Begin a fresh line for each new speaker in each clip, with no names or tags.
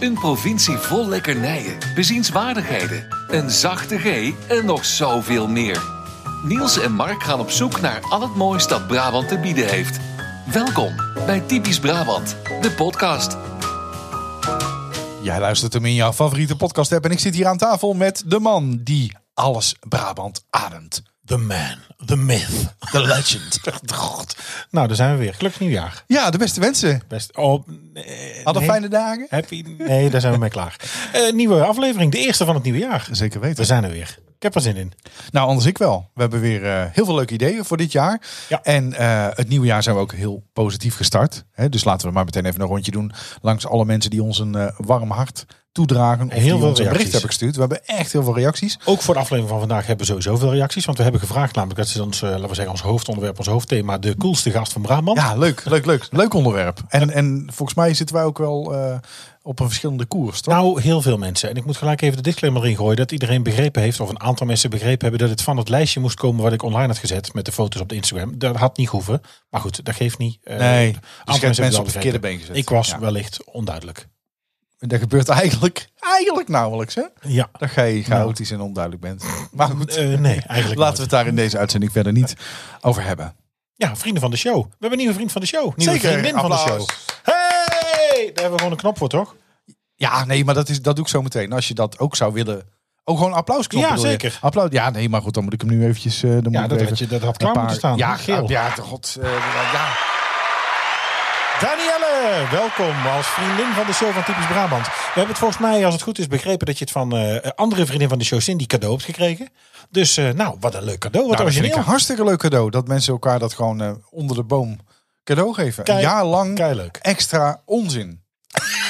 Een provincie vol lekkernijen, bezienswaardigheden, een zachte G en nog zoveel meer. Niels en Mark gaan op zoek naar al het moois dat Brabant te bieden heeft. Welkom bij Typisch Brabant, de podcast.
Jij luistert hem in jouw favoriete podcast app en ik zit hier aan tafel met de man die alles Brabant ademt.
The man, the myth, the legend. God. Nou, daar zijn we weer. Gelukkig nieuwjaar.
Ja, de beste wensen.
Best. Oh, nee,
Hadden
nee.
fijne dagen.
Happy. Nee, daar zijn we mee klaar. Eh, nieuwe aflevering, de eerste van het nieuwe jaar.
Zeker
We
weten.
zijn er weer. Ik heb er zin in.
Nou, anders ik wel. We hebben weer eh, heel veel leuke ideeën voor dit jaar.
Ja.
En eh, het nieuwe jaar zijn we ook heel positief gestart. Hè? Dus laten we maar meteen even een rondje doen langs alle mensen die ons een eh, warm hart toedragen. Of
Heel
die
veel
ons een bericht
reacties.
hebben gestuurd. We hebben echt heel veel reacties.
Ook voor de aflevering van vandaag hebben we sowieso veel reacties. Want we hebben gevraagd namelijk dat ze ons, eh, laten we zeggen, ons hoofdonderwerp, ons hoofdthema, de coolste gast van Brabant.
Ja, leuk, leuk, leuk. Leuk onderwerp. En, en volgens mij zitten wij ook wel eh, op een verschillende koers, toch?
Nou, heel veel mensen. En ik moet gelijk even de disclaimer erin gooien dat iedereen begrepen heeft, of een aantal mensen begrepen hebben, dat het van het lijstje moest komen wat ik online had gezet met de foto's op de Instagram. Dat had niet gehoeven. Maar goed, dat geeft niet. Eh,
Nee, dus je
aantal
hebt mensen
hebben het wel
op het verkeerde been gezet.
Ik was
Ja.
wellicht onduidelijk.
Dat gebeurt eigenlijk, eigenlijk nauwelijks, hè?
Ja.
Dat jij chaotisch en onduidelijk bent. Maar goed,
Nou. Eh, nee, eigenlijk
laten we
nooit.
het daar in deze uitzending verder niet over hebben.
Ja, vrienden van de show. We hebben een nieuwe vriend van de show. Nieuwe
Zeker,
vriendin van de
applaus.
show. Hey! Daar hebben we gewoon een knop voor, toch?
Ja, nee, maar dat, is, dat doe ik zo meteen. Als je dat ook zou willen... Oh, gewoon applaus
Ja, zeker.
Applaus. Ja, nee, maar goed, dan moet ik hem nu eventjes... eh, dan
Ja,
moet ik
dat
even
had je- dat had
een
klaar moeten staan.
Ja,
Geel.
ja, ja, god. eh, ja.
Danielle, welkom als vriendin van de show van Typisch Brabant. We hebben het volgens mij, als het goed is, begrepen dat je het van eh, andere vriendin van de show, Cindy, cadeau hebt gekregen. Dus eh, nou, wat een leuk cadeau. Wat
Nou, dat vind ik
origineel.
een hartstikke leuk cadeau. Dat mensen elkaar dat gewoon eh, onder de boom cadeau geven.
Kei-
een jaar lang
keileuk.
extra onzin.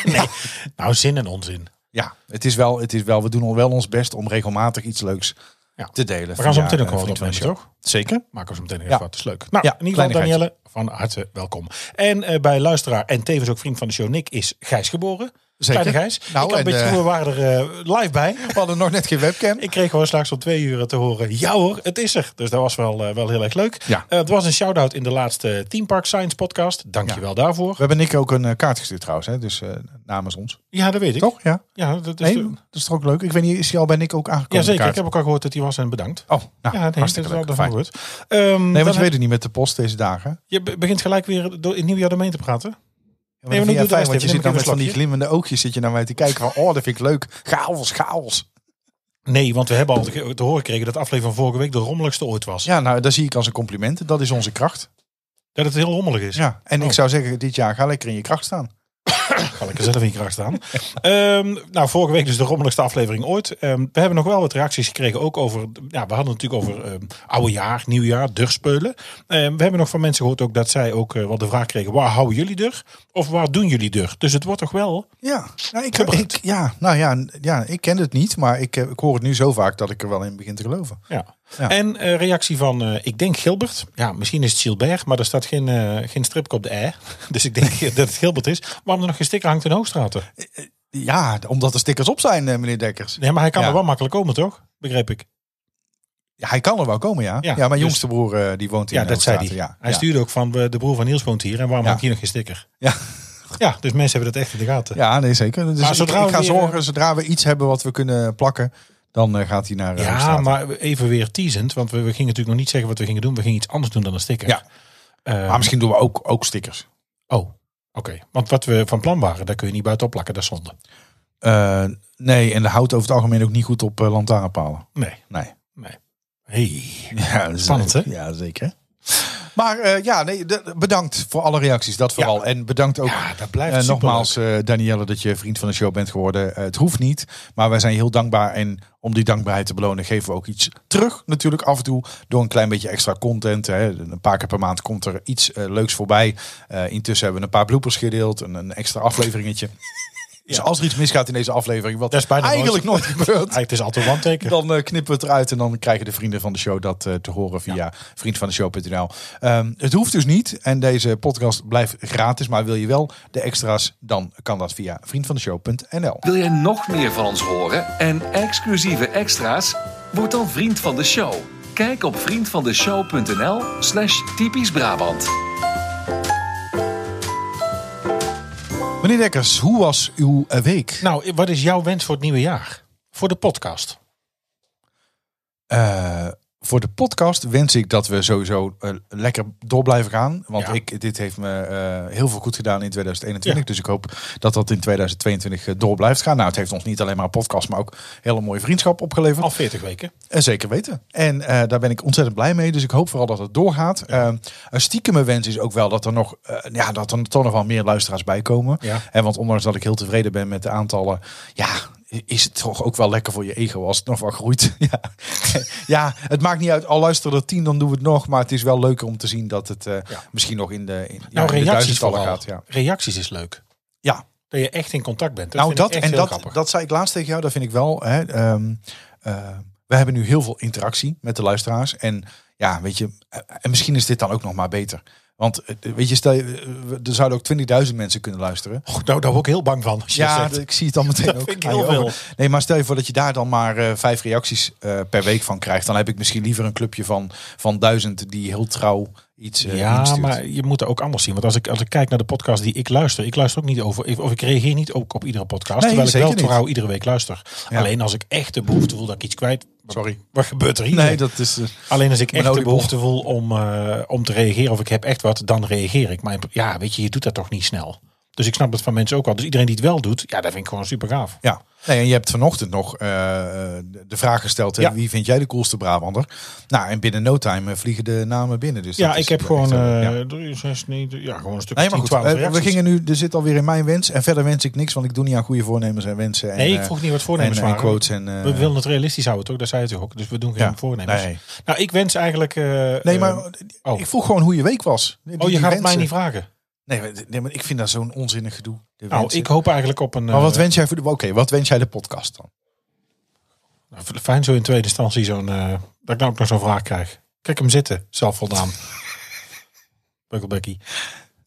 Nee. Nou, zin en onzin.
Ja, het is wel, het is wel, we doen al wel ons best om regelmatig iets leuks
Ja.
te delen.
We gaan zo
via,
meteen ook
eh,
wel
Vriend
wat
van de
opnemen,
Show.
toch?
Zeker.
Maken we zo meteen nog
Ja.
even wat. Dat is leuk. Nou,
Ja,
in ieder geval
kleinigheid.
Danielle, van harte welkom. En eh, bij luisteraar en tevens ook vriend van de show Nick is Gijs geboren.
Zeker.
Kleine Gijs.
Nou,
ik had een
en,
beetje,
eh,
we waren er eh, live bij.
We hadden nog net geen webcam.
Ik kreeg gewoon straks om twee uur te horen. Ja hoor, het is er. Dus dat was wel, eh, wel heel erg leuk.
Ja.
Eh, het was een shout-out in de laatste Team Park Science podcast. Dankjewel daarvoor.
We hebben Nick ook een eh, kaart gestuurd trouwens, hè? dus eh, namens ons.
Ja, dat weet ik.
Toch? Ja.
Ja, dat is
Nee,
de-
dat is toch ook leuk? Ik weet niet, is hij al bij Nick ook aangekomen?
ja zeker.
de
Ik heb
kaart?
ook al gehoord dat hij was en bedankt.
Oh, nou,
ja, nee, dat is
hartstikke
wel
leuk.
daarvan
Fijn.
gehoord. Ehm,
Nee,
dan
want je
heb-
weet het niet met de post deze dagen. Ja,
je be- begint gelijk weer door in het nieuwjaar doorheen te praten.
maar
dan
dat vind
doe
jij
de
fijn,
rest
want je
even,
zit
dan
nou
heb
met
ik
van
een
die glimmende oogjes zit je nou mij te kijken van, oh, dat vind ik leuk. Chaos, chaos.
Nee, want we hebben al te, te horen gekregen dat de aflevering van vorige week de rommeligste ooit was.
Ja, nou, daar zie ik als een compliment. Dat is onze kracht.
Dat het heel rommelig is.
Ja, en ik
Oh.
zou zeggen, dit jaar ga lekker in je kracht staan.
Ga ik er zelf in graag staan. Ehm, nou, vorige week dus de rommeligste aflevering ooit. Ehm, we hebben nog wel wat reacties gekregen. Ook over, ja, we hadden het natuurlijk over ehm, oude jaar, nieuwjaar, durspeulen. Ehm, we hebben nog van mensen gehoord ook dat zij ook eh, wel de vraag kregen. Waar houden jullie dur? Of waar doen jullie dur? Dus het wordt toch wel...
Ja, nou, ik,
Gebruikt.
ik, ja, nou ja, n- ja, ik ken het niet, maar ik, eh, ik hoor het nu zo vaak dat ik er wel in begin te geloven.
Ja.
Ja.
En eh, reactie van, eh, ik denk Gilbert. Ja, misschien is het Gilbert, maar er staat geen, eh geen stripje op de E. Dus ik denk dat het Gilbert is. Waarom er nog geen sticker hangt in Hoogstraten?
Ja, omdat er stickers op zijn, eh, meneer Dekkers.
Nee, maar hij kan
Ja.
er wel makkelijk komen, toch? Begreep ik.
Ja, hij kan er wel komen, ja.
Ja,
Ja, mijn
dus-
jongste broer eh, die woont in
Ja, dat zei hij.
Hoogstraten, Ja,
hij
ja.
stuurde ook van eh, de broer van Niels woont hier en waarom
Ja.
hangt hier nog geen sticker?
Ja.
Ja, dus mensen hebben dat echt in de gaten.
Ja, nee, zeker. Dus
Maar
ik-
zodra
ik,
we
ga
weer,
zorgen, zodra we iets hebben wat we kunnen plakken, dan eh, gaat hij naar eh,
Ja,
Hoogstraten.
maar even weer teasend, want we, we gingen natuurlijk nog niet zeggen wat we gingen doen. We gingen iets anders doen dan een sticker.
Ja.
Eh,
Maar misschien doen we ook, ook stickers.
oh, oké. Want wat we van plan waren, daar kun je niet buiten plakken, dat is zonde.
Eh, nee, en de houdt over het algemeen ook niet goed op eh, lantaarnpalen.
Nee,
Nee.
nee. Hey.
Ja,
Spannend, hè?
Ja, zeker. Maar eh, ja, nee, de- bedankt voor alle reacties, dat vooral. En bedankt ook
Ja, dat blijft
eh,
superleuk.
nogmaals, eh, Danielle, dat je vriend van de show bent geworden. Eh, het hoeft niet, maar wij zijn heel dankbaar. En om die dankbaarheid te belonen, geven we ook iets terug. Natuurlijk af en toe door een klein beetje extra content. Hè. Een paar keer per maand komt er iets eh, leuks voorbij. Eh, intussen hebben we een paar bloopers gedeeld, een, een extra afleveringetje. Dus als er iets misgaat in deze aflevering, wat
Dat is bijna
eigenlijk nooit gebeurt,
Eigenlijk is altijd een wandteken.
dan eh, knippen we het eruit en dan krijgen de vrienden van de show dat eh, te horen via vriendvandeshow.nl. Ehm, het hoeft dus niet en deze podcast blijft gratis, maar wil je wel de extra's, dan kan dat via vriendvandeshow.nl.
Wil jij nog meer van ons horen en exclusieve extra's? Word dan vriend van de show. Kijk op vriendvandeshow.nl slash typisch Brabant.
Meneer Dekkers, hoe was uw eh, week?
Nou, wat is jouw wens voor het nieuwe jaar? Voor de podcast.
Eh, voor de podcast wens ik dat we sowieso eh, lekker door blijven gaan. Want
Ja.
ik, dit heeft me eh, heel veel goed gedaan in 2021. Dus ik hoop dat dat in 2022 door blijft gaan. Nou, het heeft ons niet alleen maar een podcast, maar ook hele mooie vriendschap opgeleverd.
Al 40 weken. Nou,
Eh, zeker weten. En eh, daar ben ik ontzettend blij mee. Dus ik hoop vooral dat het doorgaat. Eh, een stiekeme wens is ook wel dat er nog, eh, ja, dat er toch nog wel meer luisteraars bij komen.
Ja.
En want ondanks dat ik heel tevreden ben met de aantallen, ja, is het toch ook wel lekker voor je ego als het nog wel groeit. ja. ja, het maakt niet uit. Al luisteren er tien, dan doen we het nog. Maar het is wel leuker om te zien dat het eh,
Ja.
misschien nog in de, in, ja, in
Nou,
de
reacties
duizendtallen
vooral.
gaat. Ja.
Reacties is leuk.
ja,
Dat je echt in contact bent. Dat
nou,
vind
dat
ik echt
en
heel
dat,
grappig.
dat zei ik laatst tegen jou, dat vind ik wel. Hè, ehm, eh, we hebben nu heel veel interactie met de luisteraars. En ja, weet je, eh, en misschien is dit dan ook nog maar beter. Want eh, weet je, stel je, eh, er zouden ook 20.000 mensen kunnen luisteren.
Oh, nou, daar word ik heel bang van. Als je
Ja,
dat
d-
zegt.
ik zie het dan meteen
Dat
ook.
vind ik
aan je
heel
ogen. Nee, maar stel je voor dat je daar dan maar eh, vijf reacties eh, per week van krijgt. Dan heb ik misschien liever een clubje van, van duizend die heel trouw iets eh
ja
instuurt.
maar je moet er ook anders zien. Want als ik, als ik kijk naar de podcast die ik luister, ik luister ook niet over, of ik reageer niet ook op iedere podcast.
Nee,
terwijl ik
zeker
wel
niet.
trouw iedere week luister.
Ja.
Alleen als ik echt de behoefte voel dat ik iets kwijt.
Sorry.
Wat gebeurt er hier?
Nee, dat is... eh,
Alleen als ik echt de
oliebol.
behoefte voel om, eh, om te reageren of ik heb echt wat, dan reageer ik. Maar ja, weet je, je doet dat toch niet snel. Dus ik snap dat van mensen ook al. Dus iedereen die het wel doet, ja, dat vind ik gewoon super gaaf.
Ja, nee, en je hebt vanochtend nog eh, de vraag gesteld: hè,
Ja.
wie vind jij de coolste Brabander? Nou, en binnen no time eh, vliegen de namen binnen. Dus
Ja,
dat is
ik heb
echt,
gewoon
eh, ja.
eh, drie, zes, negen, ja, gewoon een stuk
Nee, maar
10,
goed,
12
eh, we
reacties.
gingen nu, er zit alweer in mijn wens. En verder wens ik niks, want ik doe niet aan goede voornemens en wensen. En,
Nee, ik
eh,
vroeg niet wat voornemens
en, eh,
waren.
quotes en, eh,
We willen het realistisch houden, toch? Dat zei het ook. Dus we doen geen
Ja,
voornemens.
nee.
Nou, ik wens eigenlijk... eh,
Nee,
eh,
maar
oh.
ik vroeg gewoon hoe je week was. Die-
oh, je
die
gaat het mij
wensen.
niet vragen.
Nee, maar- nee, maar ik vind dat zo'n onzinnig gedoe. de
Nou,
wensen.
ik hoop eigenlijk op een...
Maar wat
eh,
wens jij voor de. Oké, wat wens jij de podcast dan?
nou, Fijn zo in tweede instantie zo'n... eh, dat ik nou ook nog zo'n vraag krijg. Kijk hem zitten, zelfvoldaan. Bukkelbekkie.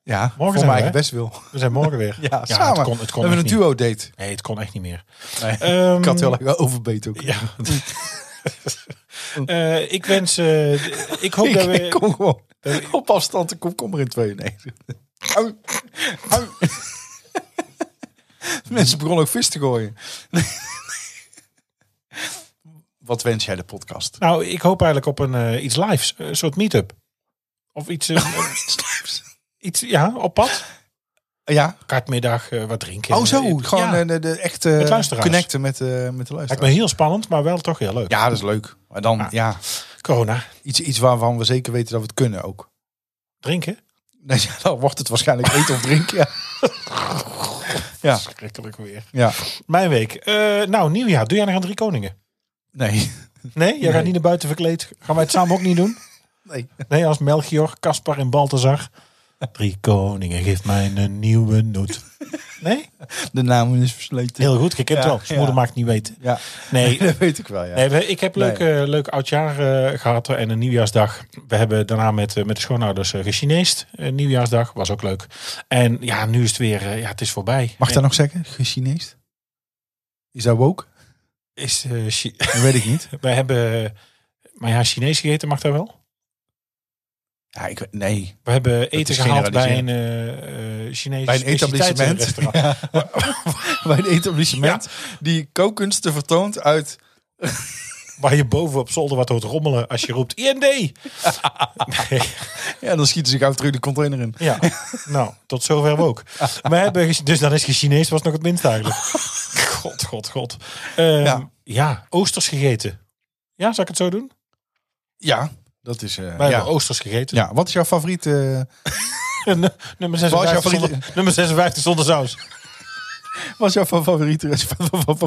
Ja,
zijn we,
voor mijn eigen
hè?
best wil.
We zijn morgen weer.
Ja, samen.
Het kon, het kon
we hebben
echt
een duo date.
niet. Nee, het kon echt niet meer.
Nee,
Ehm,
ik had heel erg overbeet ook.
Ja. Eh, ik wens... eh, ik hoop
Ik,
dat we...
ik kom gewoon op afstand. Ik kom, kom er in twee. Nee. Au. Au. Mensen begonnen ook vis te gooien. Wat wens jij de podcast?
Nou, ik hoop eigenlijk op een eh, iets lives. Een soort meet-up. Of iets... eh, iets ja, op pad.
ja,
Kaartmiddag, eh, wat drinken.
oh zo.
Eh,
Gewoon
ja.
eh, de, de echt
Met
eh
luisteraars.
connecten met, eh met de
Lijkt me
luisteraars.
heel spannend, maar wel toch heel leuk.
Ja, dat is leuk. Maar dan
Ah.
ja,
Corona.
iets, iets waarvan we zeker weten dat we het kunnen ook.
Drinken?
Nee, ja, dan wordt het waarschijnlijk eten of drinken. Ja. Ja,
Schrikkelijk weer.
ja.
Mijn week. Eh, nou, nieuwjaar. Doe jij nog aan Drie Koningen?
Nee.
Nee? Jij gaat niet naar buiten verkleed. Gaan wij het samen ook niet doen?
nee.
Nee, als Melchior, Caspar en Balthazar. Drie Koningen, geef mij een nieuwe noot. Nee?
De naam is versleten.
Heel goed, ik heb het
Ja,
wel. Zijn
ja.
moeder maakt het niet weten.
Ja,
Nee,
dat weet ik wel. Ja.
Nee, we- ik heb
Nee.
leuk, eh, leuk oudjaar eh, gehad en een nieuwjaarsdag. We hebben daarna met, eh, met de schoonouders eh gechineest. Eh, nieuwjaarsdag was ook leuk. En ja, nu is het weer, eh, ja, het is voorbij.
Mag ik dat nog zeggen? Gechineest? Is dat woke?
En Is, eh, Chi-
Dat weet ik niet.
we hebben, eh, maar ja, Chinees gegeten mag dat wel.
Ja, ik, nee.
We hebben eten
is
gehaald bij een
generaliseren.
eh eh Chinees
Bij een etablissement.
specialiteitenrestaurant.
Ja. Bij een etablissement die kookkunsten vertoont uit...
Waar je boven op zolder wat hoort rommelen als je roept IND. Nee.
Ja, dan schieten ze gauw terug de container in.
Ja, nou, tot zover we ook. We hebben, ges- dus dan is het Chinees was nog het minst eigenlijk. God, god, god. Ehm, ja.
Ja.
oosters gegeten. Ja, zal ik het zo doen?
Ja, dat is... eh,
Wij
ja.
hebben oosters gegeten.
ja, wat is jouw favoriet? eh,
nummer,
Waar is
56
jouw
zonder,
favoriete-
nummer 56 zonder saus.
wat is jouw favoriete restaurant?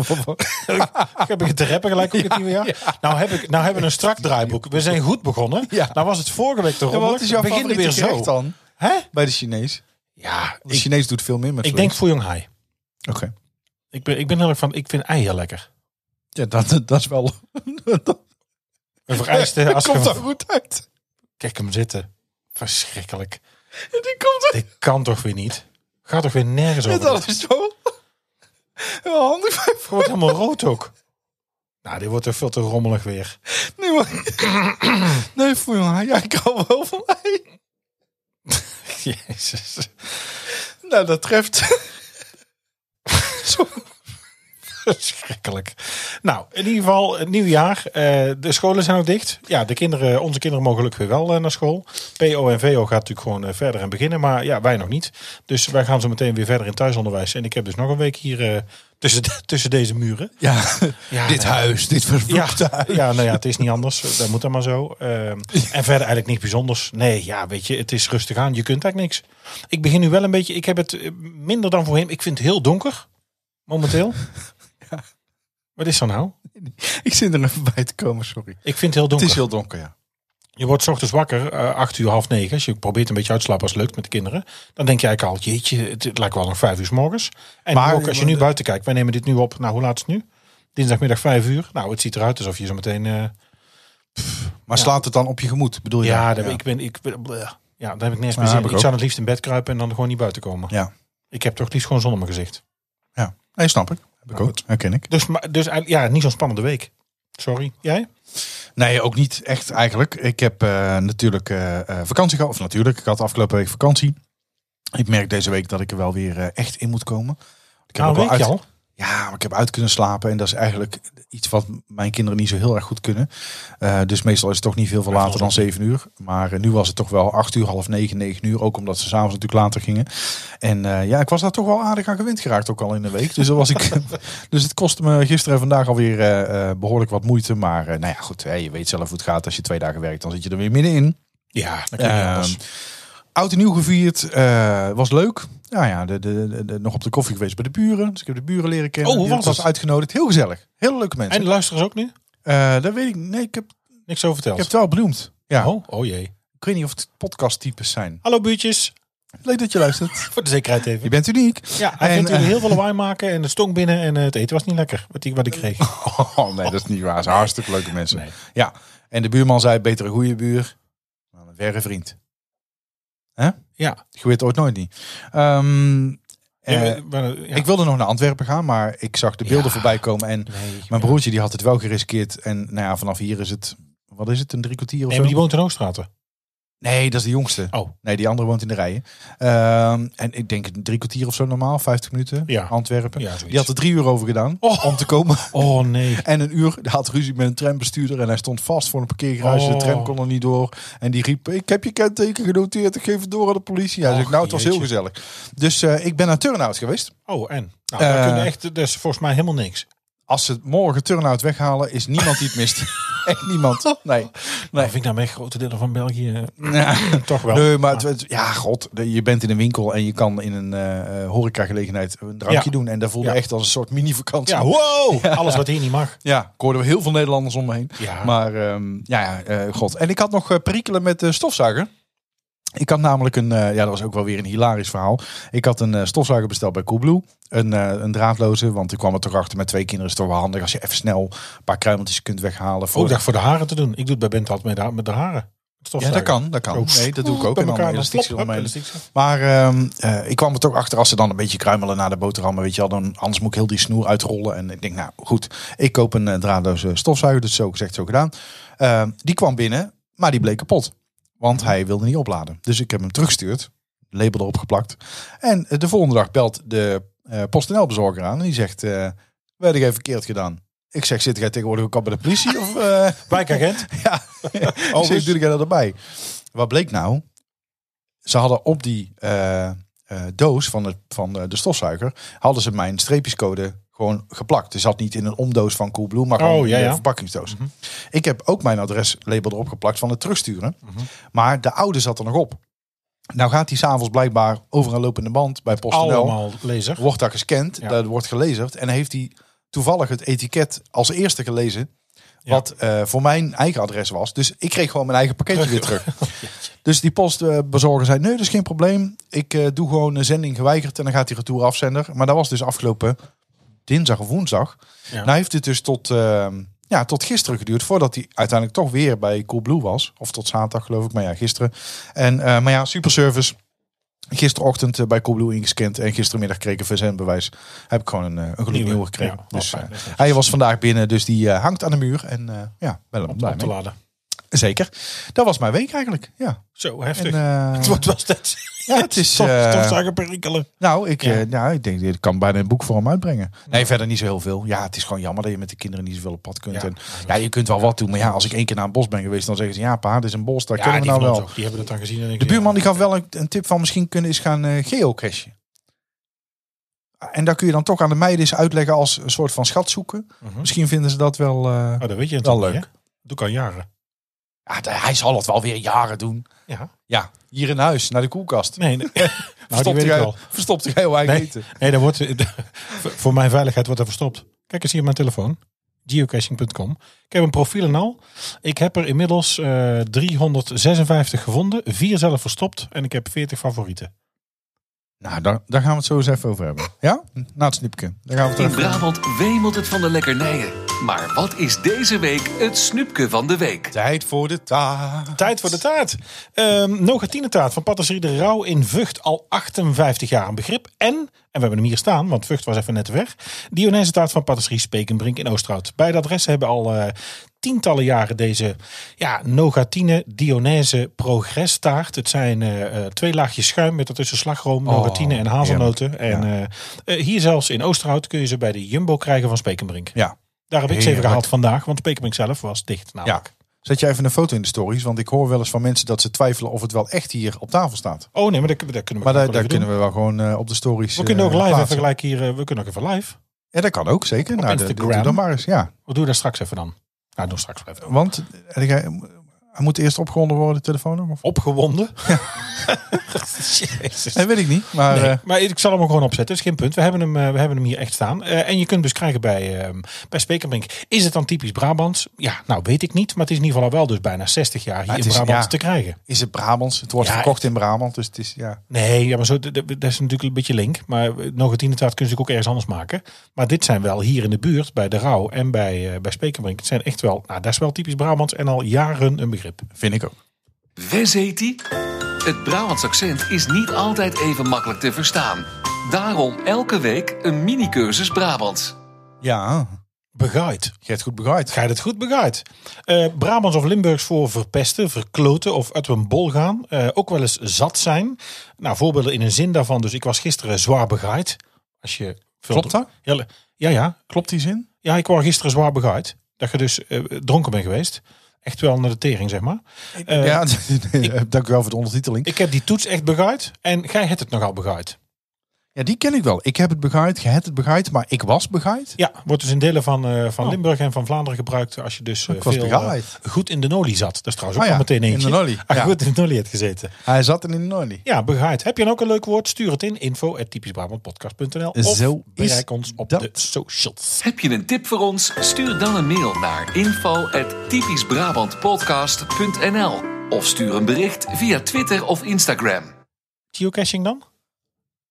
Ik heb het te rappen gelijk ook het nieuwe jaar. Nou, heb ik, nou hebben we een strak draaiboek. We zijn goed begonnen.
Ja.
Nou was het vorige week toch
Ja, wat is jouw favoriete
weer zo.
gerecht dan?
Hè?
Bij de Chinees.
Ja,
De
ik,
Chinees doet veel meer met
ik denk
vlees.
Fuyong Hai.
Oké.
Ik ben, ik ben heel erg van, ik vind ei heel lekker.
Ja, dat, dat is wel... dat
Een vereiste, als
dat
je
komt
hem-
er goed uit.
Kijk hem zitten. Verschrikkelijk.
Die komt er
Dit kan toch weer niet? Gaat toch weer nergens over?
Dit
Dit
alles zo. Heel handig bij
wordt helemaal rood ook. Nou, dit wordt toch veel te rommelig weer.
Nee, maar... nee voor mij. Ja, ik hou wel van mij.
Jezus.
Nou, dat treft.
Zo. Verschrikkelijk. Nou, in ieder geval, het nieuwjaar. Eh, de scholen zijn ook dicht. Ja, de kinderen, onze kinderen mogen gelukkig weer wel eh, naar school. PO en VO gaat natuurlijk gewoon eh, verder en beginnen. Maar ja, wij nog niet. Dus wij gaan zo meteen weer verder in thuisonderwijs. En ik heb dus nog een week hier eh, tussen, de- tussen deze muren.
Ja,
Ja,
dit
nou ja.
huis, dit
Ja,
vervloekte huis.
ja, nou ja, het is niet anders. Dat moet dan maar zo. Ehm, en verder eigenlijk niks bijzonders. Nee, ja, weet je, het is rustig aan. Je kunt eigenlijk niks. Ik begin nu wel een beetje. Ik heb het eh, minder dan voorheen. Ik vind het heel donker. Momenteel. Wat is er nou?
Ik zit er even bij te komen, sorry.
Ik vind het heel
Het
donker.
is heel donker, ja.
Je wordt 's ochtends wakker, eh, acht uur, half negen. Als je probeert een beetje uit te slapen als het lukt met de kinderen. Dan denk je eigenlijk al, jeetje, het, het lijkt wel nog vijf uur 's morgens. En
Maar-
ook als je nu buiten kijkt. Wij nemen dit nu op. Nou, hoe laat is het nu? Dinsdagmiddag vijf uur. Nou, het ziet eruit alsof je zo meteen... eh,
Maar slaat het dan op je gemoed, bedoel je?
Ja, daar ben- ik ben, ik ben, bleh. ja, daar heb ik nergens meer
Ja,
zin
heb
in.
ik
Ik zou het liefst in bed kruipen en dan gewoon niet buiten komen.
Ja.
Ik heb toch het liefst gewoon zon op mijn gezicht.
Ja. Nee, snap ik. Heb ik ook. Herken ik.
Dus, maar- dus eigenlijk- ja, niet zo'n spannende week. Sorry. Jij?
Nee, ook niet echt eigenlijk. Ik heb eh, natuurlijk eh, eh, vakantie gehad. Of natuurlijk, ik had afgelopen week vakantie. Ik merk deze week dat ik er wel weer eh, echt in moet komen. Ik
Nou,
ook
een
wel
weekje
uit-
al.
Ja, maar ik heb uit kunnen slapen. En dat is eigenlijk iets wat mijn kinderen niet zo heel erg goed kunnen. Eh, dus meestal is het toch niet veel later dan 7 uur. Maar eh, nu was het toch wel 8 uur, half 9, 9 uur. Ook omdat ze s'avonds natuurlijk later gingen. En eh, ja, ik was daar toch wel aardig aan gewend geraakt ook al in de week. Dus, dat was ik, dus het kostte me gisteren en vandaag alweer eh, eh, behoorlijk wat moeite. Maar eh, nou ja, goed, hè, je weet zelf hoe het gaat. Als je twee dagen werkt, dan zit je er weer middenin.
Ja, dan kun je niet
Ehm,
anders.
Oud en nieuw gevierd. eh, was leuk. Ja, ja de, de, de- de- nog op de koffie geweest bij de buren. Dus ik heb de buren leren kennen.
Oh, hoe
Die
was
had ik
het?
uitgenodigd. Heel gezellig. Hele leuke mensen.
En luisteren ze ook nu?
Eh, dat weet ik. Nee, ik heb,
Niks over
ik
verteld.
heb het wel benoemd. Ja.
Oh, oh jee.
Ik weet niet of het podcasttypes zijn.
Hallo buurtjes.
Leuk dat je luistert.
Voor de zekerheid even.
Je bent uniek.
Ja, hij
En,
vindt jullie
eh,
heel veel wijn maken en het stonk binnen en eh, het eten was niet lekker. Wat ik, wat ik kreeg.
Oh nee, dat is niet waar. Ze zijn hartstikke leuke mensen.
Nee.
Ja. En de buurman zei, beter een goede buur dan een verre vriend. Hè?
Ja.
Je weet het ooit nooit niet. Ehm, eh,
Ja, maar, ja.
Ik wilde nog naar Antwerpen gaan, maar ik zag de beelden
Ja.
voorbij komen. En
Nee,
mijn broertje die had het wel geriskeerd. En nou ja, vanaf hier is het, wat is het, een drie kwartier of
nee,
zo?
maar die woont in Hoogstraten.
Nee, dat is de jongste.
Oh.
Nee, die andere woont in de rijen. Ehm, en ik denk een drie kwartier of zo normaal, 50 minuten,
Ja.
Antwerpen.
Ja, zoiets.
die had er drie uur over gedaan
Oh.
om te komen.
Oh nee.
En een uur hij had ruzie met een trambestuurder en hij stond vast voor een parkeergarage. De
Oh.
tram kon er niet door. En die riep, ik heb je kenteken genoteerd, ik geef het door aan de politie. Hij
Och,
zegt, nou het was heel
jeetje.
gezellig. Dus eh, ik ben naar Turnhout geweest.
Oh, en? Nou, daar
Eh.
kunnen echt, dat is volgens mij helemaal niks.
als ze morgen turnout weghalen, is niemand die het mist. Echt niemand. Nee.
Maar vind ik nou echt grote delen van België eh,
Nee,
toch wel. Ah.
nee maar het, het- ja, god. Je bent in een winkel en je kan in een eh, eh, horecagelegenheid een drankje
Ja.
doen. En dat voelde
Ja.
echt als een soort mini-vakantie.
ja, wow! Alles wat hier niet mag.
Ja, ik hoorde heel veel Nederlanders om me heen.
Ja.
Maar ehm, ja, ja eh, god. En ik had nog eh, perikelen met de stofzuiger. Ik had namelijk een, eh, ja dat was ook wel weer een hilarisch verhaal. Ik had een eh, stofzuiger besteld bij Coolblue. Een, eh, een draadloze, want ik kwam er toch achter met twee kinderen. Is het toch wel handig als je even snel een paar kruimeltjes kunt weghalen.
Ook dag voor de haren te doen. Ik doe het bij Bent altijd met de, ha- met de haren.
Ja, dat kan, dat kan.
Zo,
Nee, dat doe ik ook.
bij
En dan
elkaar, dan
elastiekjes
flop, hup,
eromheen.
elastiekjes.
Maar ehm, eh, ik kwam er toch achter als ze dan een beetje kruimelen naar de boterhammen. Weet je wel, dan, anders moet ik heel die snoer uitrollen. En ik denk, nou goed, ik koop een eh, draadloze stofzuiger. Dus zo gezegd, zo gedaan. Ehm, die kwam binnen, maar die bleek kapot. Want hij wilde niet opladen. Dus ik heb hem teruggestuurd. Label erop geplakt. En eh, de volgende dag belt de eh PostNL-bezorger aan. En die zegt, eh werd ik even verkeerd gedaan. Ik zeg, zit jij tegenwoordig ook al bij de politie? Of, eh,
Wijkagent.
ja, oh, dus
dus-
natuurlijk jij dat erbij. Wat bleek nou? Ze hadden op die eh, eh, doos van de, van de, de stofzuiger... hadden ze mijn streepjescode gewoon geplakt. Dus zat niet in een omdoos van Coolblue... maar gewoon
Oh, ja,
in de
ja.
verpakkingsdoos. Ik heb ook mijn adreslabel erop geplakt van het terugsturen.
Mhm.
Maar de oude zat er nog op. Nou gaat die s'avonds blijkbaar over een lopende band bij PostNL
Allemaal lezer.
wordt daar gescand,
Ja.
dat wordt gelezerd. En heeft hij toevallig het etiket als eerste gelezen.
Ja.
Wat eh, voor mijn eigen adres was. Dus ik kreeg gewoon mijn eigen pakketje weer terug. Dus die postbezorger zei: Nee, dat is geen probleem. Ik eh, doe gewoon een zending geweigerd. En dan gaat die retour afzender. Maar dat was dus afgelopen dinsdag of woensdag.
Ja.
Nou heeft het dus tot, eh, ja, tot gisteren geduurd. Voordat hij uiteindelijk toch weer bij Coolblue was. Of tot zaterdag geloof ik. Maar ja, gisteren. En, eh, maar ja, superservice. Gisterochtend eh, bij Coolblue ingescand. En gistermiddag kreeg ik een verzendbewijs. Heb ik gewoon een, eh, een gelukkig
Nieuwe.
nieuwe gekregen.
Ja,
dus,
oh, fijn.
eh, hij was vandaag binnen. Dus die eh, hangt aan de muur. En eh, ja, wel een
Om op te laden.
Zeker. Dat was mijn week eigenlijk. Ja.
Zo
En,
heftig.
eh,
het wordt wel steeds.
ja, het is,
toch,
eh,
toch zagen perikelen.
nou, ik,
Ja.
eh, nou, ik denk, dit kan bijna een boekvorm uitbrengen. Nee, verder niet zo heel veel. Ja, het is gewoon jammer dat je met de kinderen niet zoveel op pad kunt.
Ja.
En, ja, je kunt wel wat doen. Maar ja, als ik één keer naar een bos ben geweest, dan zeggen ze, ja pa, dit is een bos, daar
Ja,
kunnen
die
we nou
van ons
wel.
ook. Die hebben het dan gezien. En
De buurman die gaf wel een, een tip van misschien kunnen is gaan eh geocachen. En daar kun je dan toch aan de meiden eens uitleggen als een soort van schat zoeken. Misschien vinden ze dat wel... eh,
Oh, dat weet je
Wel
natuurlijk.
leuk.
hè? Doe ik al jaren.
ja, d- hij zal het wel weer jaren doen.
Ja.
Ja, hier in huis, naar de koelkast.
Nee, nee. nou, die
Verstopt
weet ik
hij-
wel.
Verstopt hij heel eigen
Nee.
eten.
Nee, dat wordt, voor- voor mijn veiligheid wordt dat verstopt. Kijk eens hier op mijn telefoon. Geocaching.com. Ik heb een profiel en al. Ik heb er inmiddels eh, 356 gevonden. Vier zelf verstopt. En ik heb 40 favorieten.
Nou, daar, daar gaan we het zo eens even over hebben. Ja? Na het snoepje. Daar gaan we
In
het terug.
Brabant wemelt het van de lekkernijen. Maar wat is deze week het snoepje van de week?
Tijd voor de taart.
Tijd voor de taart. Ehm Nogatine-taart van Patisserie de Rauw in Vught. Al 58 jaar een begrip. En, en we hebben hem hier staan, want Vught was even net weg. Dionese taart van Patisserie Spekenbrink in Oosterhout. Beide adressen hebben al eh, tientallen jaren deze ja, Nogatine Dionese Progress taart. Het zijn eh, eh, twee laagjes schuim met daartussen slagroom,
Oh,
Nogatine en hazelnoten. En eh, eh, hier zelfs in Oosterhout kun je ze bij de Jumbo krijgen van Spekenbrink.
Ja.
Daar heb ik ze even
Heerlijk.
gehaald vandaag, want Spekenbrink zelf was dicht
ja.
namelijk.
Zet jij even een foto in de stories, want ik hoor wel eens van mensen dat ze twijfelen of het wel echt hier op tafel staat.
Oh nee, maar daar, daar kunnen we
Maar
ook
daar,
wel
daar
even doen.
kunnen we wel gewoon eh, op de stories.
We kunnen ook
eh,
live even
plaatsen.
gelijk hier. eh, We kunnen ook even live.
Ja, dat kan ook, zeker.
Op
Nou, dat-
Instagram.
doe dan maar eens, ja.
Wat doen we daar straks even dan? Nou, doen we straks wel even.
Want eh, jij- hij moet eerst opgewonden worden, de telefoon nog? Of?
Opgewonden. Jezus.
Nee, weet ik niet. Maar
Nee,
eh,
maar ik zal hem ook gewoon opzetten. Dat is geen punt. We hebben hem, eh, we hebben hem hier echt staan. Eh, en je kunt hem dus krijgen bij, ehm bij Spekerbrink. Is het dan typisch Brabants? Ja, nou weet ik niet. Maar het is in ieder geval al wel dus bijna 60 jaar hier
het
in
is-
Brabant
ja.
te krijgen.
is het Brabants? Het wordt
Ja,
verkocht in Brabant, dus het is, ja.
Nee, ja, maar zo, d- d- dat is natuurlijk een beetje link. Maar Nogatinetaart kun je natuurlijk ook ergens anders maken. Maar dit zijn wel hier in de buurt, bij De Rauw en bij, eh bij Spekenbrink. Het zijn echt wel, nou dat is wel typisch Brabants en al jaren een begrip.
Vind ik ook.
Wes heet die? Het Brabants accent is niet altijd even makkelijk te verstaan. Daarom elke week een mini-cursus Brabants.
Ja,
Begaaid.
je hebt goed begrijpt.
Ga je het goed begaaid? Eh Brabants of Limburgs voor verpesten, verkloten of uit een bol gaan. Eh, ook wel eens zat zijn. Nou, voorbeelden in een zin daarvan. Dus ik was gisteren zwaar begaaid. Als je veel
Klopt dat?
Ja, le- ja, ja.
Klopt die zin?
Ja, ik was gisteren zwaar begaaid. Dat je dus eh, dronken bent geweest. Echt wel naar de tering, zeg maar. Eh,
ja, dank u wel voor de ondertiteling.
Ik heb die toets echt begaaid. En gij hebt het nogal begaaid.
ja, die ken ik wel. Ik heb het begaaid, je hebt het begaaid, maar ik was begaaid.
Ja, wordt dus in delen van, eh, van
Oh.
Limburg en van Vlaanderen gebruikt. Als je dus eh,
Ik was
veel,
begaaid.
eh, goed in de nolie zat. Dat is trouwens ook
Ah ja,
al meteen
in de
eentje.
nolie,
Ah,
ja.
Goed in de nolie hebt gezeten.
Hij zat er in de nolie.
Ja, begaaid. Heb je dan ook een leuk woord? Stuur het in info@typischbrabantpodcast.nl of
Zo is
bereik ons op
dat.
de socials.
Heb je een tip voor ons? Stuur dan een mail naar info@typischbrabantpodcast.nl of stuur een bericht via Twitter of Instagram.
Geocaching dan?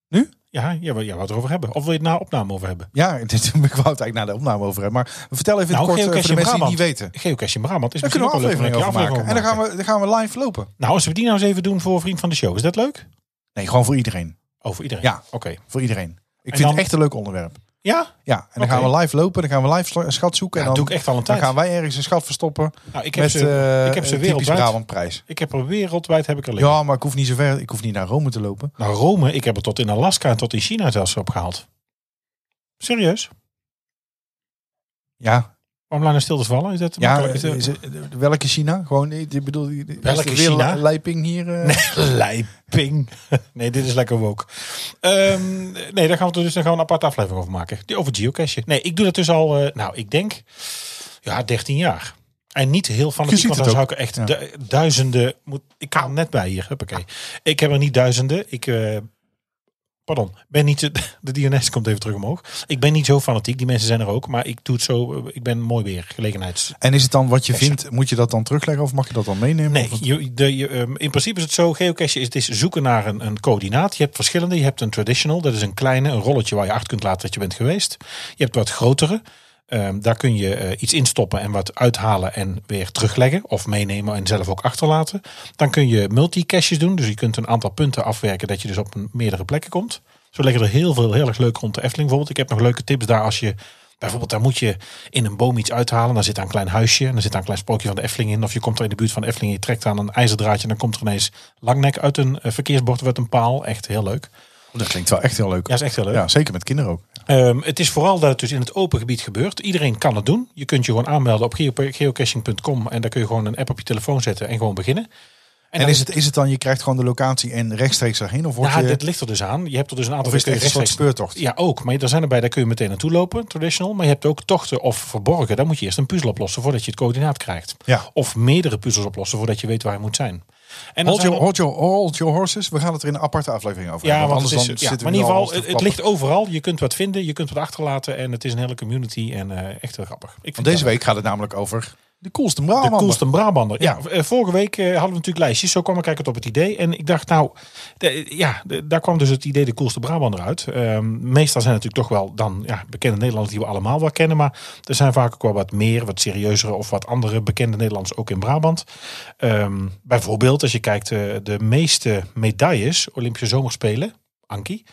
Nu?
Ja, ja, we- ja, we het erover hebben. Of wil je het na opname over hebben?
Ja, dit, ik wou het eigenlijk na de opname over hebben. Maar vertel even in het
Nou,
kort eh,
geocaching
voor de mensen die
Brabant.
niet weten.
Geocaching Brabant is
Daar kunnen
misschien
we
ook
een
wel leuk om
aflevering
een keer
over maken.
aflevering
En dan gaan,
over
we, dan gaan we live lopen.
Nou, als we die nou eens even doen voor Vriend van de Show. Is dat leuk?
Nee, gewoon voor iedereen.
Over iedereen?
Ja.
Oké.
Voor iedereen. Ik
En
vind
dan-
het echt een leuk onderwerp.
Ja?
Ja, en dan
Oké.
gaan we live lopen, dan gaan we live sla- een schat zoeken.
Ja,
en
dat
dan,
doe ik echt al een
dan
tijd.
gaan wij ergens een schat verstoppen
Nou, ik heb
met
ze,
eh,
ik heb ze
een typisch
wereldwijd.
Brabantprijs.
Ik heb er wereldwijd heb ik er liggen.
Ja, maar ik hoef niet zo ver. Ik hoef niet naar Rome te lopen.
Nou, Rome, ik heb er tot in Alaska en tot in China zelfs opgehaald. Serieus?
Ja,
Waarom laat je stil te vallen? Is dat
ja eh,
makkelijk? Is dat-
is het- welke China? Gewoon, eh, ik bedoel, eh, is
Welke
er weer
China?
li- Leiping hier. eh?
Leiping. Nee, dit is lekker woke. Ehm, nee, daar gaan we dus dan gewoon een aparte aflevering over maken. Die over geocache. Nee, ik doe dat dus al, eh, nou, ik denk, ja, 13 jaar. En niet heel fanatiek,
ziet
want dan
het
zou
ook.
ik er echt
Ja.
du- duizenden... Moet, ik kan er net bij hier, huppakee. Ik heb er niet duizenden. Ik, eh, pardon, ben niet... De, de DNS komt even terug omhoog. Ik ben niet zo fanatiek, die mensen zijn er ook. Maar ik doe het zo, eh, ik ben mooi weer, gelegenheids...
En is het dan wat je
Cache.
vindt, moet je dat dan terugleggen of mag je dat dan meenemen?
Nee,
Of wat-
je, de, je, ehm, in principe is het zo. Geocache is, het is zoeken naar een, een coördinaat. Je hebt verschillende. Je hebt een traditional, dat is een kleine, een rolletje waar je achter kunt laten dat je bent geweest. Je hebt wat grotere. Ehm, daar kun je eh, iets instoppen en wat uithalen en weer terugleggen. Of meenemen en zelf ook achterlaten. Dan kun je multicaches doen. Dus je kunt een aantal punten afwerken dat je dus op een- meerdere plekken komt. Zo leggen er heel veel heel erg leuk rond de Efteling bijvoorbeeld. Ik heb nog leuke tips daar als je Bijvoorbeeld, daar moet je in een boom iets uithalen. Daar zit daar een klein huisje en daar zit daar een klein sprookje van de Efteling in. Of je komt er in de buurt van de Efteling, je trekt aan een ijzerdraadje en dan komt er ineens langnek uit een eh, verkeersbord of uit een paal. Echt heel leuk.
Oh, Dat klinkt wel echt heel leuk.
Ja, is echt heel leuk.
Ja, zeker met kinderen ook.
Ehm, het is vooral dat het dus in het open gebied gebeurt. Iedereen kan het doen. Je kunt je gewoon aanmelden op geo- geocaching.com en daar kun je gewoon een app op je telefoon zetten en gewoon beginnen. En,
En,
dan-
is, het, is het dan, je krijgt gewoon de locatie en rechtstreeks daarheen? Of, word
Ja,
je,
dit ligt er dus aan. Je hebt er dus een aantal
of is het
keer
echt een soort
rechtstreeks-
speurtocht?
Ja, ook. Maar er zijn erbij, daar kun je meteen naartoe lopen, traditional. Maar je hebt ook tochten of verborgen. Daar moet je eerst een puzzel oplossen voordat je het coördinaat krijgt.
Ja.
Of meerdere puzzels oplossen voordat je weet waar je moet zijn. En dan
Hold
zijn
your,
er-
hold, your, hold your horses. We gaan het er in een aparte aflevering over
Ja,
hebben,
want het is, ja,
zitten
maar in
we
ieder
nu al
geval,
alles
het,
te
het
klappen.
ligt overal. Je kunt wat vinden, je kunt wat achterlaten. En het is een hele community en eh, echt heel grappig. Ik vind
Want
dat-
deze week gaat het namelijk over de coolste
De
Brabant.
coolste Brabander. Ja, eh, vorige week eh, hadden we natuurlijk lijstjes. Zo kwam ik eigenlijk op het idee. En ik dacht, nou, de- ja, de- daar kwam dus het idee de coolste Brabander uit. Ehm, meestal zijn het natuurlijk toch wel dan ja, bekende Nederlanders die we allemaal wel kennen. Maar er zijn vaak ook wel wat meer, wat serieuzere of wat andere bekende Nederlanders ook in Brabant. Ehm, bijvoorbeeld, als je kijkt, eh, de meeste medailles, Olympische Zomerspelen, Anki.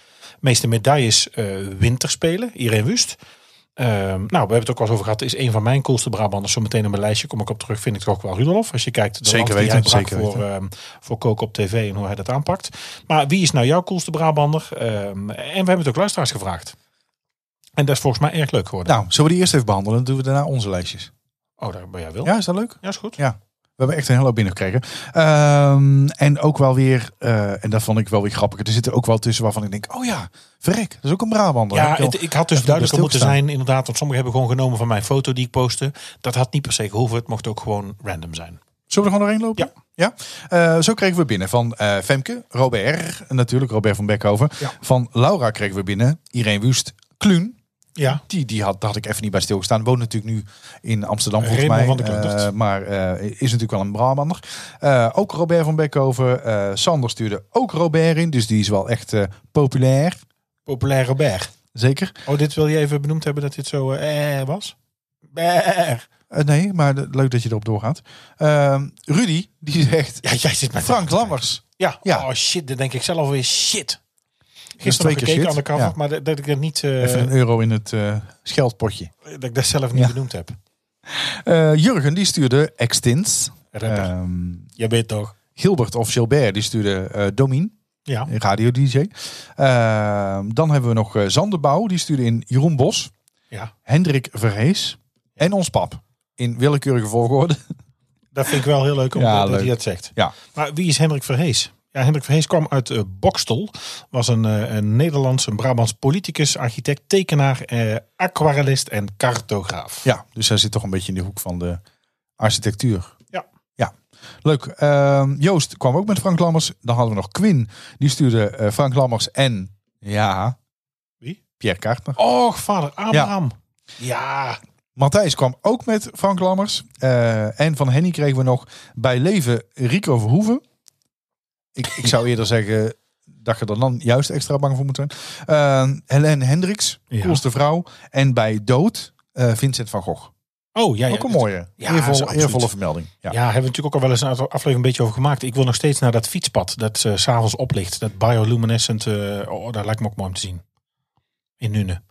meeste medailles eh, winterspelen, Irene Wust. Ehm, nou, we hebben het ook al eens over gehad. Is een van mijn coolste Brabanders. Zometeen op mijn lijstje kom ik op terug. Vind ik toch ook wel Rudolf. Als je kijkt de
Zeker
lans
weten,
die hij brak
zeker
voor, ehm voor koken op tv en hoe hij dat aanpakt. Maar wie is nou jouw coolste Brabander? Ehm, en we hebben het ook luisteraars gevraagd. En dat is volgens mij erg leuk geworden.
Nou, zullen we die eerst even behandelen? Dan doen we daarna onze lijstjes.
oh, daar ben jij wil. Ja,
Ja, is dat leuk?
is goed.
We hebben echt een hele hoop binnengekregen. Ehm, en ook wel weer, eh, en dat vond ik wel weer grappig. Er zitten ook wel tussen waarvan ik denk, oh ja, verrek, dat is ook een Brabander.
Ja,
Heb ik al-
het- ik had dus
even
duidelijker moeten
stilgestaan.
zijn inderdaad. Want sommigen hebben gewoon genomen van mijn foto die ik postte. Dat had niet per se gehoeven. Het mocht ook gewoon random zijn.
Zullen we er gewoon doorheen lopen? Ja. Eh, zo kregen we binnen van eh, Femke, Robert, natuurlijk Robert van Beckhoven.
Ja.
Van Laura kregen we binnen, Irene Wust, Kluun.
Ja.
Die, die had, daar had ik even niet bij stilgestaan. Woont natuurlijk nu in Amsterdam volgens
Raymond
mij.
van de Klundert.
Eh, maar eh, is natuurlijk wel een Brabander. Eh, ook Robert van Beckhoven. Eh, Sander stuurde ook Robert in. Dus die is wel echt eh, populair.
Populaire berg.
Zeker.
Oh, dit wil je even benoemd hebben dat dit zo eh eh, was? Berg.
Eh, nee, maar de- leuk dat je erop doorgaat. Ehm, Rudy, die zegt
Ja, jij zit met
Frank Lammers.
Ja.
Ja.
Oh shit, dan denk ik zelf weer shit.
is
Gisteren
twee
nog
keer
gekeken
shit,
aan de cover,
ja.
maar dat, dat ik dat niet, eh,
Even een euro in het eh, scheldpotje.
dat ik dat zelf niet
Ja.
benoemd heb.
Eh, Jurgen, die stuurde Extins.
Rapper.
Ehm
Jij bent toch?
Gilbert of Gilbert, die stuurde eh Domien.
Ja.
radio DJ. Ehm, dan hebben we nog eh, Zanderbouw, die stuurde in Jeroen Bos,
Ja.
Hendrik Verhees en ons pap. In willekeurige volgorde.
Dat vind ik wel heel leuk om
Ja,
dat
leuk.
hij dat zegt.
Ja.
Maar wie is Hendrik Verhees? Ja, Hendrik Verhees kwam uit eh, Bokstel. Was een, eh, een Nederlands, een Brabants politicus, architect, tekenaar, eh, aquarellist en cartograaf.
Ja, dus hij zit toch een beetje in de hoek van de architectuur.
Ja.
Ja, leuk. Ehm, Joost kwam ook met Frank Lammers. Dan hadden we nog Quinn, die stuurde eh, Frank Lammers en, ja...
Wie?
Pierre Kaartner.
Och, vader Abraham. ja.
Matthijs kwam ook met Frank Lammers. Eh, en van Henny kregen we nog bij leven Rico Verhoeven. Ik, ik zou eerder zeggen dat je er dan juist extra bang voor moet zijn. Eh, Helene Hendricks,
Ja.
coolste vrouw. En bij dood eh, Vincent van Gogh.
Oh, ja. ja.
ook een mooie,
ja, is
eervolle,
absoluut.
eervolle vermelding. Ja.
Ja, hebben we natuurlijk ook al wel eens een aantal aflevering een beetje over gemaakt. Ik wil nog steeds naar dat fietspad dat eh, s s'avonds oplicht. Dat bioluminescent, eh, oh, daar lijkt me ook mooi om te zien. In Nune.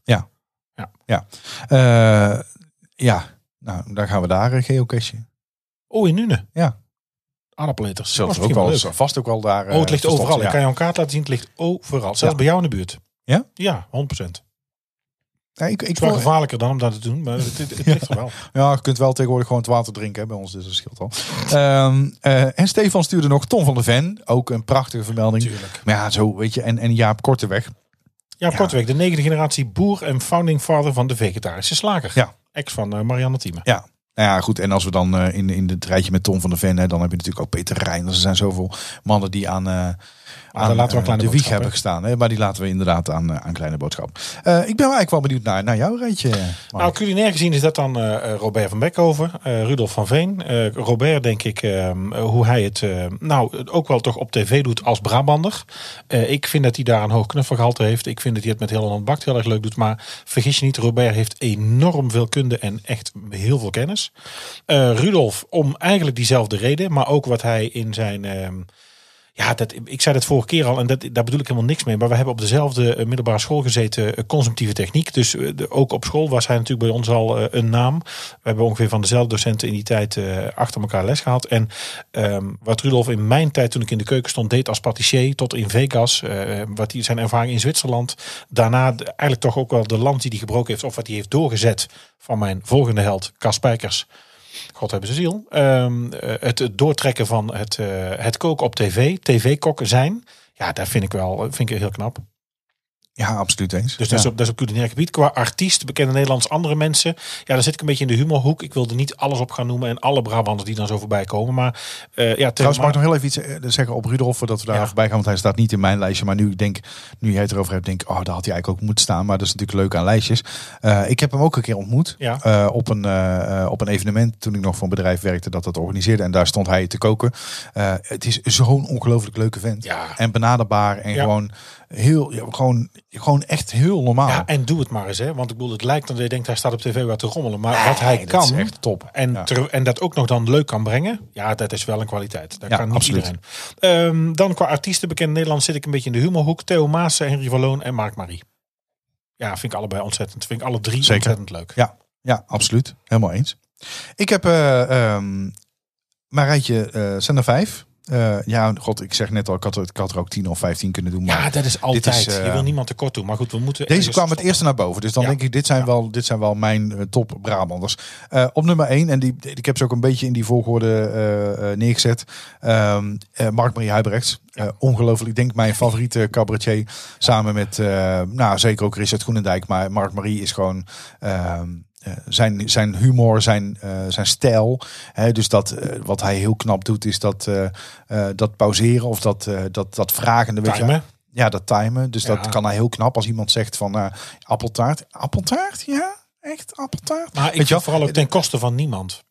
Eh, ja, nou dan gaan we daar een geocache.
Oh, in Nune.
Ja.
Aardappeleters.
Zelfs
Dat is
ook
misschien
wel, eh,
leuk.
vast ook wel daar.
Oh, het ligt
eh, verstopt,
overal.
ja.
Ik kan je een kaart laten zien. Het ligt overal. Zelfs
Ja.
bij jou in de buurt.
Ja?
Ja, 100%. Het
Ja, ik, ik
is wel
wil-
gevaarlijker dan om dat te doen, maar het, het, het ligt er wel.
Ja, je kunt wel tegenwoordig gewoon het water drinken hè, bij ons, dus dat scheelt al. Ehm, eh, en Stefan stuurde nog Tom van de Ven, ook een prachtige vermelding.
Natuurlijk.
Maar ja, zo weet je, en, en Jaap Korteweg.
Ja, Kortweg, de negende generatie boer en founding father van de vegetarische slager.
Ja.
Ex van eh, Marianne Thieme.
Ja. Nou ja, goed. En als we dan eh, in, in het rijtje met Tom van de Ven, hè, dan heb je natuurlijk ook Peter Reinders. Er zijn zoveel mannen die aan, eh,
dan
aan
Ah, laten we aan
eh,
Kleine
de wieg
Boodschap, hè.
hebben gestaan. Hè? Maar die laten we inderdaad aan, eh, aan Kleine Boodschap. Eh, ik ben wel eigenlijk wel benieuwd naar, naar jouw rijtje. Mark.
Nou, culinair gezien is dat dan eh, eh, Robert van Beckhoven, eh, Rudolf van Veen. Eh, Robert, denk ik, ehm, eh, hoe hij het eh, nou eh, ook wel toch op tv doet als Brabander. Eh, ik vind dat hij daar een hoog knuffelgehalte heeft. Ik vind dat hij het met heel Holland Bakt heel erg leuk doet. Maar vergis je niet, Robert heeft enorm veel kunde en echt heel veel kennis. Eh, Rudolf, om eigenlijk diezelfde reden, maar ook wat hij in zijn... ehm, Ja, dat, ik zei dat vorige keer al en dat, daar bedoel ik helemaal niks mee. Maar we hebben op dezelfde eh, middelbare school gezeten, eh, consumptieve techniek. Dus eh, de- ook op school was hij natuurlijk bij ons al eh, een naam. We hebben ongeveer van dezelfde docenten in die tijd eh, achter elkaar les gehad. En ehm, wat Rudolf in mijn tijd, toen ik in de keuken stond, deed als patissier tot in Vegas. eh, wat hij, zijn ervaring in Zwitserland. Daarna de- eigenlijk toch ook wel de land die hij gebroken heeft. Of wat hij heeft doorgezet van mijn volgende held, Cas Spijkers. God hebben ze ziel. Ehm, eh, het, het doortrekken van het, eh, het koken op tv, tv-kok zijn. Ja, daar vind ik wel eh, vind ik heel knap.
Ja, absoluut eens.
Dus
ja.
dat, is op, dat is op culinair gebied. Qua artiest, bekende Nederlands, andere mensen. Ja, daar zit ik een beetje in de humorhoek. Ik wilde niet alles op gaan noemen en alle Brabanders die dan zo voorbij komen. Maar eh ja,
Trouwens, mag ik
maar,
nog heel even iets eh, zeggen op Rudolf, voordat we daar
Ja.
voorbij gaan, want hij staat niet in mijn lijstje. Maar nu ik denk, nu jij het erover hebt, denk ik, oh, daar had hij eigenlijk ook moeten staan. Maar dat is natuurlijk leuk aan lijstjes. Eh, ik heb hem ook een keer ontmoet
Ja.
eh, op, een, eh, eh, op een evenement toen ik nog voor een bedrijf werkte dat dat organiseerde. En daar stond hij te koken. Eh, het is zo'n ongelooflijk leuke vent.
Ja.
En benaderbaar en
Ja.
gewoon heel, ja, gewoon, gewoon echt heel normaal.
ja, en doe het maar eens. Hè. Want ik bedoel, het lijkt dat je denkt, hij staat op tv wat te rommelen. Maar wat
Nee,
hij
dat is
kan
echt top.
en,
Ja.
ter- en dat ook nog dan leuk kan brengen. Ja, dat is wel een kwaliteit. Dat
Ja,
kan niet
absoluut.
iedereen. Ehm, dan qua artiesten bekend Nederland zit ik een beetje in de humorhoek. Theo Maassen, Henry Valloon en Mark Marie. Ja, vind ik allebei ontzettend. Vind ik alle drie
Zeker.
ontzettend leuk.
Ja, ja, absoluut. Helemaal eens. Ik heb eh ehm Marijtje eh Zender 5. Eh, ja, god, ik zeg net al, ik had, er- ik had er ook 10 of 15 kunnen doen. Maar
Ja, dat is altijd.
eh,
Je wil niemand tekort doen. Maar goed, we moeten...
deze
ergens
kwam het
stoppen.
eerste naar boven. Dus dan
Ja.
denk ik, dit zijn, wel, dit zijn wel mijn eh, top Brabanders. Eh, op nummer 1, en die, ik heb ze ook een beetje in die volgorde eh, eh, neergezet. ehm, eh, Mark-Marie Huibrechts. Eh, ongelooflijk, ik denk mijn favoriete cabaretier. Samen met, eh, nou zeker ook Richard Groenendijk. Maar Mark-Marie is gewoon... ehm, eh, zijn, zijn humor, zijn, eh, zijn stijl. Hè, dus dat, eh, wat hij heel knap doet, is dat, eh, eh, dat pauzeren of dat, eh, dat, dat vragende. weet je.
Timen.
Ja, dat timen. Dus dat
Ja.
kan hij heel knap als iemand zegt van eh, appeltaart. Appeltaart? Ja, echt appeltaart?
Maar ik
Weet je
vind
wel? Eh,
vooral ook ten koste van niemand.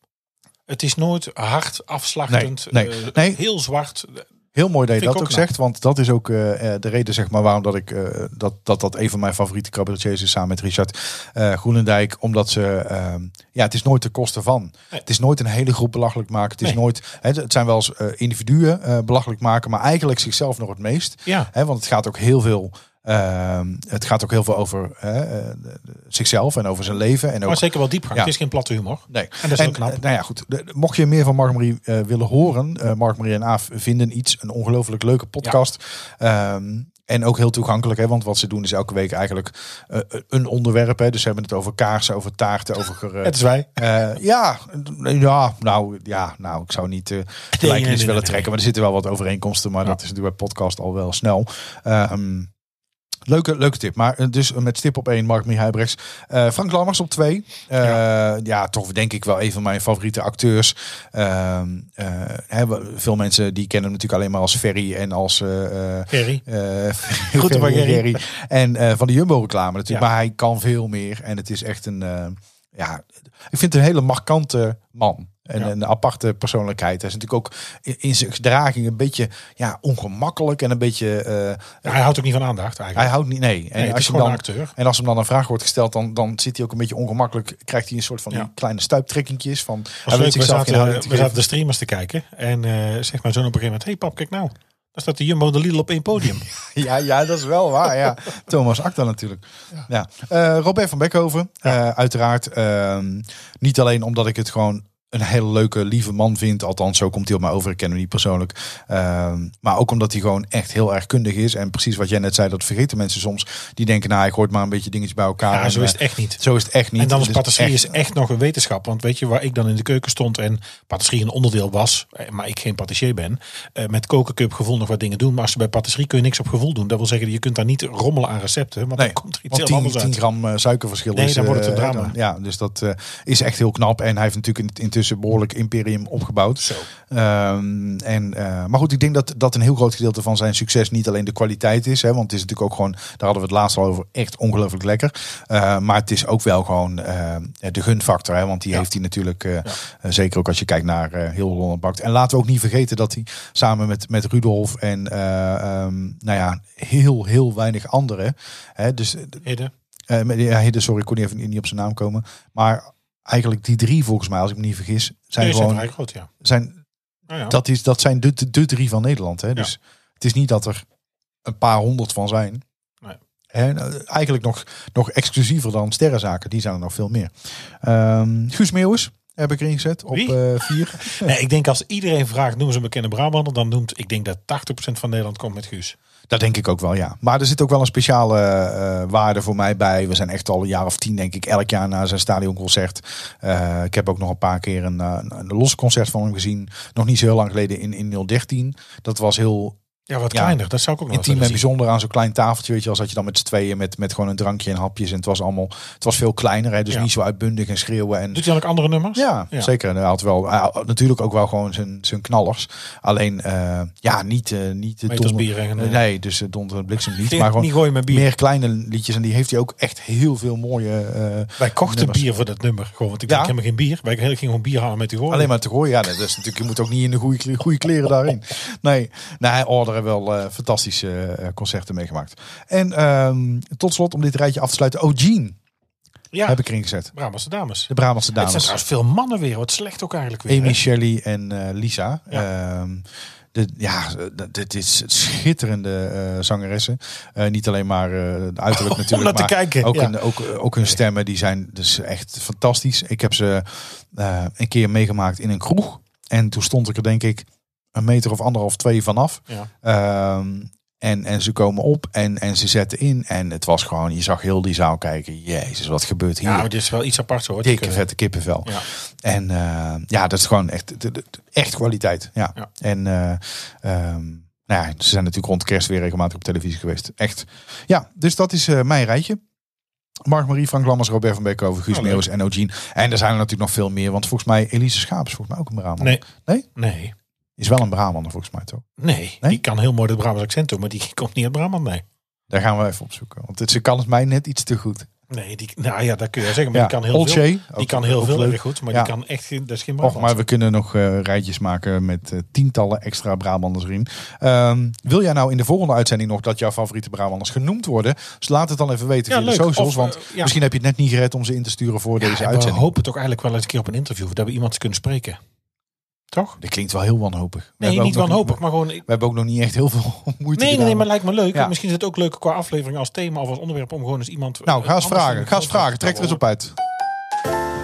Het is nooit hard, afslachtend,
Nee,
eh,
nee.
heel zwart.
Heel mooi dat je dat
Vind ik
ook,
ook knap.
zegt. Want dat is ook eh, eh, de reden zeg maar, waarom dat, ik, eh, dat, dat dat een van mijn favoriete cabaretiers is samen met Richard eh, Groenendijk. Omdat ze, ehm, ja, het is nooit de kosten van.
Nee.
Het is nooit een hele groep belachelijk maken. Het, is
Nee.
nooit, hè, het zijn wel eens eh, individuen eh, belachelijk maken, maar eigenlijk zichzelf nog het meest.
Ja.
Hè, want het gaat ook heel veel. ehm, het gaat ook heel veel over hè, eh, zichzelf en over zijn leven. En ook
Maar zeker wel diepgang.
Ja.
Het is geen platte humor.
Nee.
En dat is heel knap.
eh, Nou ja, goed. De- de- mocht je meer van Mark Marie eh, willen horen, eh Mark Marie en Aaf vinden iets, een ongelooflijk leuke podcast. Ehm, en ook heel toegankelijk, hè, want wat ze doen is elke week eigenlijk eh, een onderwerp. Hè. Dus ze hebben het over kaarsen, over taarten, over... gere-
Het is wij.
eh, ja, eh, ja, nou, ja, nou, ik zou niet eh de
nee, nee,
lijkenis
nee,
willen
nee.
trekken, maar er zitten wel wat overeenkomsten, maar
Ja.
dat is natuurlijk bij podcast al wel snel. Ehm, leuke, leuke tip. Maar eh, dus met stip op één, Mark Mihai Brechts. Eh, Frank Lammers op twee. Eh, ja. toch denk ik wel een van mijn favoriete acteurs. Ehm, eh, hè, we- veel mensen die kennen hem natuurlijk alleen maar als Ferry en als eh, eh,
Gerry.
eh
Groeten van
Ferry,
Gerry.
Gerry. En eh, van de Jumbo-reclame natuurlijk.
Ja.
Maar hij kan veel meer. En het is echt een... eh, ja, ik vind het een hele markante man. En
Ja.
een aparte persoonlijkheid. Hij is natuurlijk ook in- in zijn gedraging een beetje ja, ongemakkelijk. En een beetje... eh,
Ja, hij houdt ook niet van aandacht
hij
eigenlijk.
houdt niet... Nee. En
Nee, het
als
is
je hem
gewoon
dan...
een acteur.
En als hem dan een vraag wordt gesteld, dan, dan zit hij ook een beetje ongemakkelijk. Krijgt hij een soort van die
Ja.
kleine stuiptrekkingjes. Van,
Was
hij weet
leuk, we,
zichzelf geen
zaten,
houding te
we zaten
geven.
de streamers te kijken. En eh zeg mijn zoon op een gegeven moment... hey pap, kijk nou. Daar staat de Jumbo en de Lidl op één podium.
Ja, ja, dat is wel waar. Ja. Thomas Acta natuurlijk. Ja. Eh, Robert van Beckhoven, eh, uiteraard. Ehm, niet alleen omdat ik het gewoon een hele leuke, lieve man vind. Althans, zo komt hij op mij over. Ik ken hem niet persoonlijk. Ehm, maar ook omdat hij gewoon echt heel erg kundig is. En precies wat jij net zei, dat vergeten mensen soms. Die denken, nou, ik hoort maar een beetje dingetjes bij elkaar.
Ja,
en,
zo is
eh,
het echt niet.
zo is het echt niet. Dus
En dan is
Het
patisserie
echt-
is echt nog een wetenschap. Want weet je waar ik dan in de keuken stond en patisserie een onderdeel was, eh, maar ik geen patissier ben. eh, met koken kun je op gevoel nog wat dingen doen. Maar als je bij patisserie kun je niks op gevoel doen. Dat wil zeggen, je kunt daar niet rommelen aan recepten. Want
Nee,
dan komt er
want
iets heel
10,
anders
10
uit.
gram eh, suikerverschil
Nee,
is...
dan wordt het een
eh,
drama.
dan- ja, dus dat eh, is echt heel knap. En hij heeft natuurlijk in- intussen behoorlijk imperium opgebouwd.
Zo.
Ehm, en, eh, maar goed, ik denk dat dat een heel groot gedeelte van zijn succes niet alleen de kwaliteit is. Hè, want het is natuurlijk ook gewoon, daar hadden we het laatst al over, echt ongelooflijk lekker. Eh, maar het is ook wel gewoon eh, de gunfactor. Hè, want die
Ja.
heeft hij natuurlijk, eh, eh, zeker ook als je kijkt naar eh, heel Holland Bakt. En laten we ook niet vergeten dat hij samen met, met Rudolf en eh, ehm, nou ja, heel, heel weinig anderen. Hè, dus eh,
Heden.
eh, met- ja, Hidde, sorry, ik kon niet even niet op zijn naam komen. Maar eigenlijk die drie, volgens mij, als ik me niet vergis, zijn
Nee, is
gewoon
vrij groot, ja.
zijn,
Nou ja.
dat, is, dat zijn de, de, de drie van Nederland. Hè? Dus Het is niet dat er een paar honderd van zijn.
Nee.
Hè, nou, eigenlijk nog, nog exclusiever dan sterrenzaken. Die zijn er nog veel meer. Ehm Guus Meeuwis heb ik erin gezet op
Wie?
eh vier.
Nee, ik denk als iedereen vraagt, noemen ze een bekende Brabander, dan noemt, ik denk dat 80% van Nederland komt met Guus.
Dat denk ik ook wel, ja. Maar er zit ook wel een speciale eh, waarde voor mij bij. We zijn echt al een jaar of tien, denk ik, elk jaar naar zijn stadionconcert. Eh, ik heb ook nog een paar keer een, eh, een los concert van hem gezien. Nog niet zo heel lang geleden in, in 013. Dat was heel
Ja, wat
Ja.
kleiner. Oh, Dat zou ik ook nog
intiem en
willen zien.
bijzonder aan zo'n klein tafeltje. Weet je, als dat je dan met z'n tweeën met, met gewoon een drankje en hapjes. En het was allemaal, het was veel kleiner. Hè, dus
Ja.
niet zo uitbundig en schreeuwen. En,
Doet hij dan ook andere nummers?
ja,
Ja.
zeker. En Hij had wel, hij had natuurlijk ook wel gewoon zijn, zijn knallers. Alleen, eh, ja, niet, eh, niet de
Meters
donder-
bier en, eh,
Nee, dus eh, donder en bliksem niet.
Geen-
Maar gewoon
niet gooien met bier.
meer kleine liedjes. En die heeft hij ook echt heel veel mooie... eh,
Wij kochten
nummers.
bier voor dat nummer. Gewoon, want ik
Ja.
dacht, ik heb geen bier. Wij gingen gewoon bier halen met die horen.
Alleen maar te gooien. Ja, nee, dat is natuurlijk, je moet ook niet in de goede, kle- goede kleren daarin. Nee, nee hij orderen wel eh, fantastische eh, concerten meegemaakt. En ehm, tot slot, om dit rijtje af te sluiten. Oh, Jean
ja,
heb ik erin gezet.
Brabantse dames.
De Brabantse
Het zijn
dames.
trouwens veel mannen weer. Wat slecht ook eigenlijk weer.
Amy,
hè?
Shelley en eh, Lisa.
Ja.
Ehm, de, ja, d- dit is schitterende eh, zangeressen. Eh, niet alleen maar eh, het uiterlijk
Om
natuurlijk.
naar te
maar
kijken,
Ook,
ja.
hun, ook, eh, ook hun stemmen die zijn dus echt fantastisch. Ik heb ze eh, een keer meegemaakt in een kroeg. En toen stond ik er denk ik een meter of anderhalf, twee vanaf.
Ja.
Ehm, en, en ze komen op en, en ze zetten in. En het was gewoon, je zag heel die zaal kijken. Jezus, wat gebeurt hier?
Ja, maar dit is wel iets apart hoor.
Dikke vette kippenvel.
Ja.
En eh, ja, dat is gewoon echt, d- d- echt kwaliteit. Ja.
Ja.
En eh, ehm, nou ja, ze zijn natuurlijk rond kerst weer regelmatig op televisie geweest. Echt. Ja, dus dat is eh, mijn rijtje. Mark-Marie, Frank Lammers, Robert van Beekhoven, Guus
Nou, leuk.
Meeuwis en O'Gene. En er zijn er natuurlijk nog veel meer. Want volgens mij, Elise Schaap is volgens mij ook een Brabant.
Nee.
Nee?
Nee.
Is wel een Brabander volgens mij toch?
Nee.
Nee?
Die kan heel mooi het Brabants accent doen, maar die komt niet uit Brabant, nee.
Daar gaan we even opzoeken. Want het, ze kan het mij net iets te goed.
Nee, die, nou ja, dat kun je wel zeggen. Maar
Ja,
die kan heel
Olcay,
veel.
ook-
Die kan heel
ook
veel
leuk.
erg goed, maar
Ja.
die kan echt geen, dat is geen
Och,
Brabant.
maar we kunnen nog eh, rijtjes maken met eh, tientallen extra Brabanders erin. Ehm, wil jij nou in de volgende uitzending nog dat jouw favoriete Brabanders genoemd worden? Dus laat het dan even weten
Ja,
via de
leuk.
socials.
Of,
want
eh, ja.
misschien heb je het net niet gered om ze in te sturen voor
Ja,
deze
en we
uitzending.
hopen toch eigenlijk wel eens een keer op een interview dat we iemand kunnen spreken. Toch?
Dat klinkt wel heel wanhopig. We
Nee,
hebben ook
niet
nog
wanhopig, maar gewoon...
We hebben ook nog niet echt heel veel moeite
Nee, nee,
gedaan.
nee, maar lijkt me leuk.
Ja.
Misschien is het ook leuk qua aflevering als thema of als onderwerp om gewoon eens iemand... eh,
Nou, ga eens
anders
vragen.
in de
Ga eens
podcast
vragen.
te
Trek er eens op uit.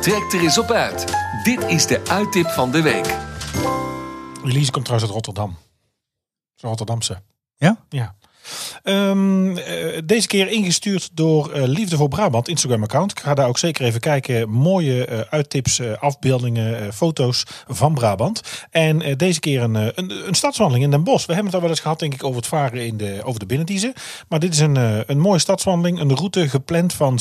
Trek er eens op uit. Dit is de uittip van de week.
Elise komt trouwens uit Rotterdam. Ze is Rotterdamse.
Ja?
Ja. Ehm, eh, deze keer ingestuurd door eh, Liefde voor Brabant Instagram-account. Ik ga daar ook zeker even kijken. Mooie eh, uittips, eh, afbeeldingen, eh, foto's van Brabant. En eh, deze keer een, eh, een, een stadswandeling in Den Bosch. We hebben het al wel eens gehad, denk ik, over het varen in de, over de binnendiezen. Maar dit is een, eh, een mooie stadswandeling. Een route gepland van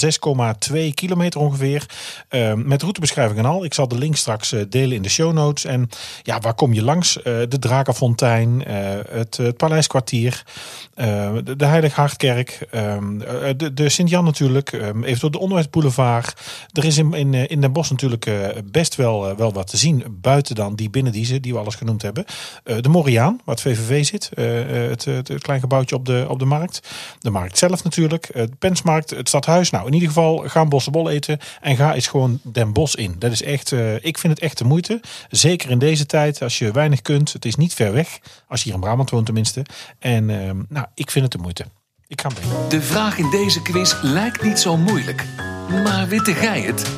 6,2 kilometer ongeveer. Ehm, met routebeschrijving en al. Ik zal de link straks eh, delen in de show notes. En ja, waar kom je langs? Eh, de Drakenfontein, eh, het, eh, het Paleiskwartier, eh, de, de Heilig Hartkerk, ehm, eh, de, de Sint-Jan natuurlijk, ehm eventueel de Onderwijsboulevard. Er is in, in, eh, in Den Bosch natuurlijk eh, best wel, eh, wel wat te zien. Buiten dan die binnendiezen die we alles genoemd hebben. Eh, de Moriaan, waar het VVV zit. eh, eh, het, eh, het, het klein gebouwtje op de, op de markt. De markt zelf natuurlijk. eh, De Pensmarkt, het Stadhuis. Nou, in ieder geval ga een bossenbol eten. En ga eens gewoon Den Bos in. Dat is echt, eh, ik vind het echt de moeite. Zeker in deze tijd, als je weinig kunt. Het is niet ver weg. Als je hier in Brabant woont tenminste. En eh, nou, ik vind het de moeite. Ik ga mee.
De vraag in deze quiz lijkt niet zo moeilijk. Maar witte gij het?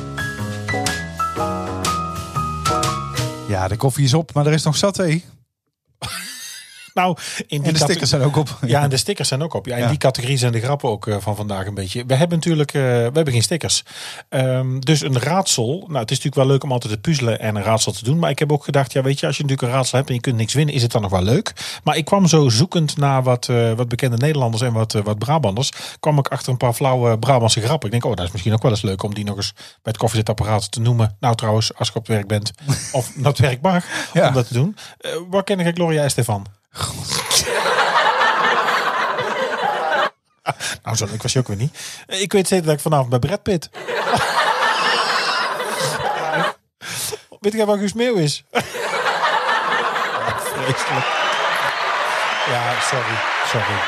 Ja, de koffie is op, maar er is nog saté. En
Nou, in die
de
cate-
stickers zijn ook op.
Ja, en de stickers zijn ook op. Ja, in
Ja.
die categorie zijn de grappen ook eh, van vandaag een beetje. We hebben natuurlijk eh, we hebben geen stickers. Ehm, dus een raadsel. Nou, het is natuurlijk wel leuk om altijd te puzzelen en een raadsel te doen. Maar ik heb ook gedacht, ja, weet je, als je natuurlijk een raadsel hebt en je kunt niks winnen, is het dan nog wel leuk. Maar ik kwam zo zoekend naar wat, eh, wat bekende Nederlanders en wat, eh, wat Brabanders. kwam ik achter een paar flauwe Brabantse grappen. Ik denk, oh, dat is misschien ook wel eens leuk om die nog eens bij het koffiezetapparaat te noemen. Nou, trouwens, als ik op het werk bent of naar het werk mag,
Ja.
om dat te doen. Eh, waar ken ik Gloria en Stefan? Nou, zo leuk was je ook weer niet. Eh, Ik weet zeker dat ik vanavond bij Brad Pitt. weet jij waar Guus Meeuw is? Ja, Vreselijk. Ja, sorry. Sorry.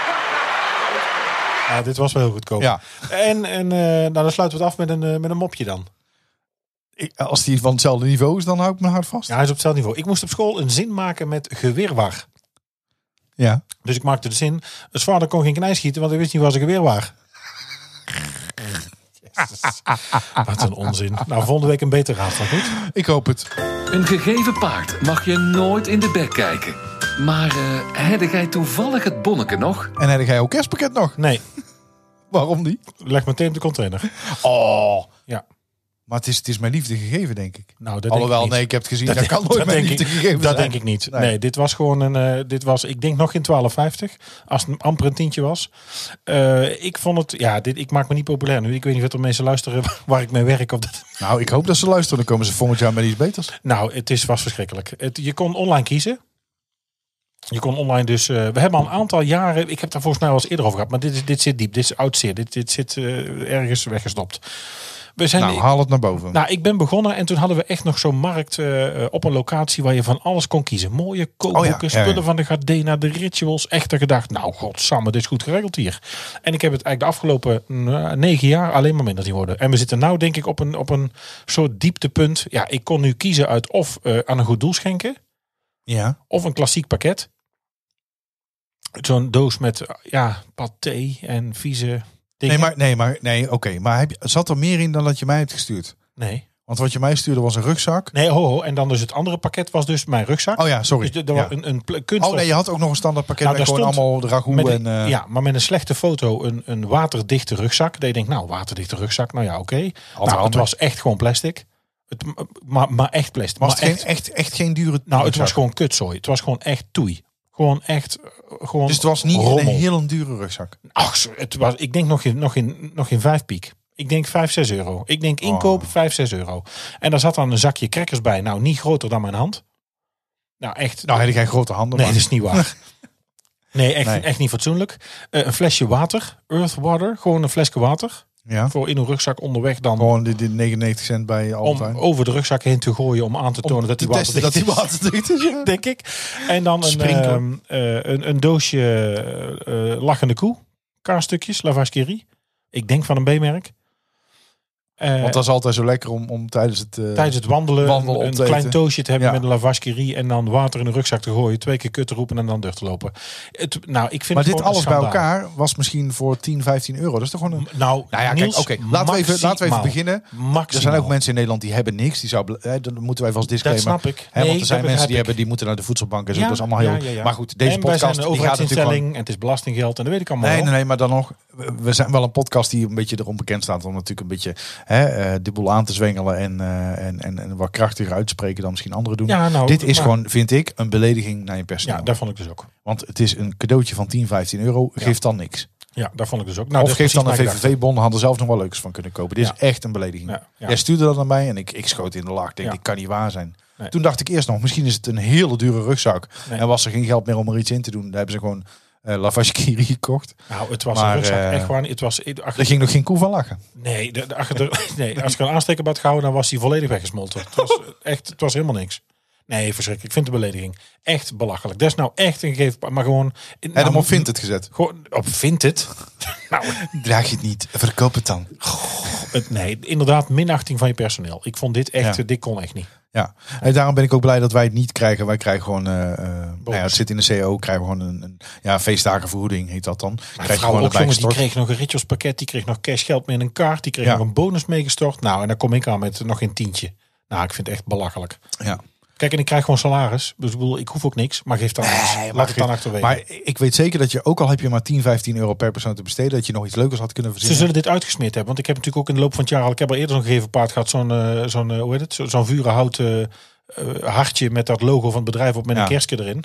Ja, dit was wel heel goedkoop.
Ja.
En, en eh, nou, dan sluiten we het af met een, eh, met een mopje dan.
Ik- Als die van hetzelfde niveau is, dan hou ik mijn hart vast.
Ja, hij is op hetzelfde niveau. Ik moest op school een zin maken met gewirwar.
Ja.
Dus ik maakte de zin. Het vader kon geen knijs schieten, want hij wist niet waar ze geweer waren. Wat een onzin. Nou, volgende week een beter raadslag, goed?
Ik hoop het.
Een gegeven paard mag je nooit in de bek kijken. Maar eh heb jij toevallig het bonneke nog?
En heb jij ook kerstpakket nog?
Nee,
Waarom niet?
leg meteen op de container.
Oh.
Ja.
Maar het is, het is mijn liefde gegeven, denk ik.
Nou, dat
Alhoewel,
denk ik
nee,
niet.
ik heb het gezien. Dat,
Dat
kan nooit
dat
mijn
denk
liefde
ik-
gegeven
Dat
zijn.
denk ik niet.
Nee.
Nee, dit was gewoon een. eh, dit was, ik denk nog geen 12,50. Als het amper een tientje was. Eh, ik vond het. Ja, dit, ik maak me niet populair nu. Ik weet niet of de mensen luisteren waar ik mee werk. Of dat.
Nou, ik hoop dat ze luisteren. Dan komen ze volgend jaar met iets beters.
Nou, het is, was verschrikkelijk. Het, je kon online kiezen. Je kon online dus. eh, we hebben al een aantal jaren. Ik heb daar volgens mij wel eens eerder over gehad. Maar dit, is, dit zit diep. Dit is oud zeer. Dit, dit zit eh, ergens weggestopt. We zijn,
Nou, haal het naar boven.
nou, ik ben begonnen en toen hadden we echt nog zo'n markt eh, eh, op een locatie waar je van alles kon kiezen. Mooie kookboeken,
Oh ja, ja, ja.
spullen van de Gardena, de rituals. Echt gedacht, nou godsamme, dit is goed geregeld hier. En ik heb het eigenlijk de afgelopen nou, negen jaar alleen maar minder zien worden. En we zitten nou denk ik op een, op een soort dieptepunt. Ja, ik kon nu kiezen uit of eh, aan een goed doel schenken,
ja.
of een klassiek pakket. Zo'n doos met, eh, ja, paté en vieze dingen.
Nee, maar, nee, maar, nee, oké. Maar heb je, zat er meer in dan dat je mij hebt gestuurd?
nee.
Want wat je mij stuurde was een rugzak.
Nee, ho, ho. En dan dus het andere pakket was dus mijn rugzak.
Oh ja, sorry.
Dus er
Ja.
was een, een pl- kunststof.
Oh nee, je had ook nog een standaard pakket
Nou,
met
daar
gewoon
stond-
allemaal de ragout
met
en...
een-
eh,
Ja, maar met een slechte foto een, een waterdichte rugzak. Dat je denkt, nou, waterdichte rugzak, nou ja, oké. Nou, het
handig.
was echt gewoon plastic. Het, maar, maar echt plastic.
Was
maar
het
echt,
geen, echt, echt geen dure...
nou, het
rugzak?
was gewoon kutzooi. Het was gewoon echt toei. Gewoon echt... eh, Gewoon
Dus het was niet
rommel.
een heel dure rugzak.
Ach, zo, het was, ik denk nog in, nog in, nog in vijf piek. Ik denk 5, 6 euro. Ik
Oh.
denk inkoop 5, 6 euro. En daar zat dan een zakje crackers bij. Nou, niet groter dan mijn hand. Nou, echt.
Nou, heb jij grote handen.
Nee,
maar-
dat is niet waar. Nee, echt,
Nee.
echt niet fatsoenlijk. Eh, een flesje water, Earth Water, gewoon een flesje water.
Ja.
Voor in een rugzak onderweg dan
Gewoon de, de 99 cent bij
om
Albertijn.
over de rugzak heen te gooien om aan te tonen dat die water
dat die
is.
waterdicht is. ja.
Denk ik. En dan een,
Sprinkler.
ehm, eh, een, een doosje eh, eh, lachende koe, kaarstukjes, lavashkiri. Ik denk van een B-merk. Eh,
Want dat is altijd zo lekker om, om tijdens het... eh,
tijdens het wandelen,
wandelen
een-
op
een
te
klein
eten.
toosje te hebben
Ja.
met een lavashkiri en dan water in de rugzak te gooien, twee keer kut te roepen en dan deur te lopen. Het, nou, ik vind
maar dit
het gewoon
alles
een
bij
schandaal.
elkaar was misschien voor 10, 15 euro. Dat is toch gewoon een...
Nou,
Nou ja,
Niels,
kijk, oké. Laten, we even, laten we even
maximaal.
beginnen. Er
Maximaal.
zijn ook mensen in Nederland die hebben niks. Die zou, hè, dat moeten wij even als
Dat
disclaimer.
snap ik.
Hè,
Nee,
want er
dat
zijn mensen
begrijp
die,
ik.
hebben, die moeten naar de voedselbank en zo. dat is allemaal heel...
ja, ja, ja.
Maar goed, deze
en wij zijn
podcast
een
die gaat natuurlijk
overheidsinstelling
gewoon...
en het is belastinggeld en dat weet ik allemaal
Nee,
wel.
nee, nee, maar dan nog. we- We zijn wel een podcast die een beetje erom bekend staat. Om natuurlijk een beetje hè, eh, de boel aan te zwengelen. En, eh, en, en, en wat krachtiger uitspreken dan misschien anderen doen.
Ja, nou,
Dit is
maar-
gewoon, vind ik, een belediging naar je personeel.
Ja, daar vond ik dus ook.
Want het is een cadeautje van 10, 15 euro. Geeft dan niks.
Ja, daar vond ik dus ook. Nou,
of
dat is
geeft dan een
precies mijn
VVV-bon. Hadden zelf nog wel leuks van kunnen kopen. Dit
Ja.
is echt een belediging.
Ja, ja.
Jij stuurde dat aan mij en ik, ik schoot in de lach. Ik denk,
Ja.
dit kan niet waar zijn.
Nee.
Toen dacht ik eerst nog, misschien is het een hele dure rugzak.
Nee.
En was er geen geld meer om er iets in te doen. Daar hebben ze gewoon eh lavashkiri gekocht.
gedachte. Nou, het was
Maar,
een rugzak.
eh,
echt waar. Het was, eh,
Daar
achter,
ging nog geen koe van lachen.
nee, de, de achter, de- nee, als ik een aansteker had gehouden, dan was hij volledig weggesmolten. Het was, eh, echt, het was helemaal niks. Nee, verschrikkelijk. Ik vind de belediging echt belachelijk. Dat is nou echt een gegeven... Maar gewoon...
En
nou,
hem op vindt het gezet.
Gewoon op vindt het. nou,
Draag je het niet, verkoop het dan.
het- nee, inderdaad, minachting van je personeel. Ik vond dit echt...
Ja.
Dit kon echt niet.
Ja, en daarom ben ik ook blij dat wij het niet krijgen. Wij krijgen gewoon, eh, eh, nou ja, het zit in de CO, krijgen we gewoon een, een ja, feestdagenvergoeding heet dat dan.
Mijn
Krijg je
vrouw
gewoon
ook,
erbij
jongens, die
gestort.
kreeg nog een ritjospakket, die kreeg nog cashgeld mee in een kaart, die kreeg
Ja.
nog een bonus meegestort. Nou, en dan kom ik aan met nog geen tientje. Nou, ik vind het echt belachelijk.
Ja.
Kijk, en ik krijg gewoon salaris. Dus ik bedoel, ik hoef ook niks, maar geef dan eens. Laat het dan achterwege.
Maar ik weet zeker dat je, ook al heb je maar 10, 15 euro per persoon te besteden, dat je nog iets leukers had kunnen
Ze
verzinnen.
zullen dit uitgesmeerd hebben, want ik heb natuurlijk ook in de loop van het jaar al, ik heb al eerder zo'n gegeven paard gehad, zo'n, eh, zo'n, eh, hoe heet het, Zo- zo'n vurenhouten eh, hartje met dat logo van het bedrijf op met
Ja.
een kerstje erin.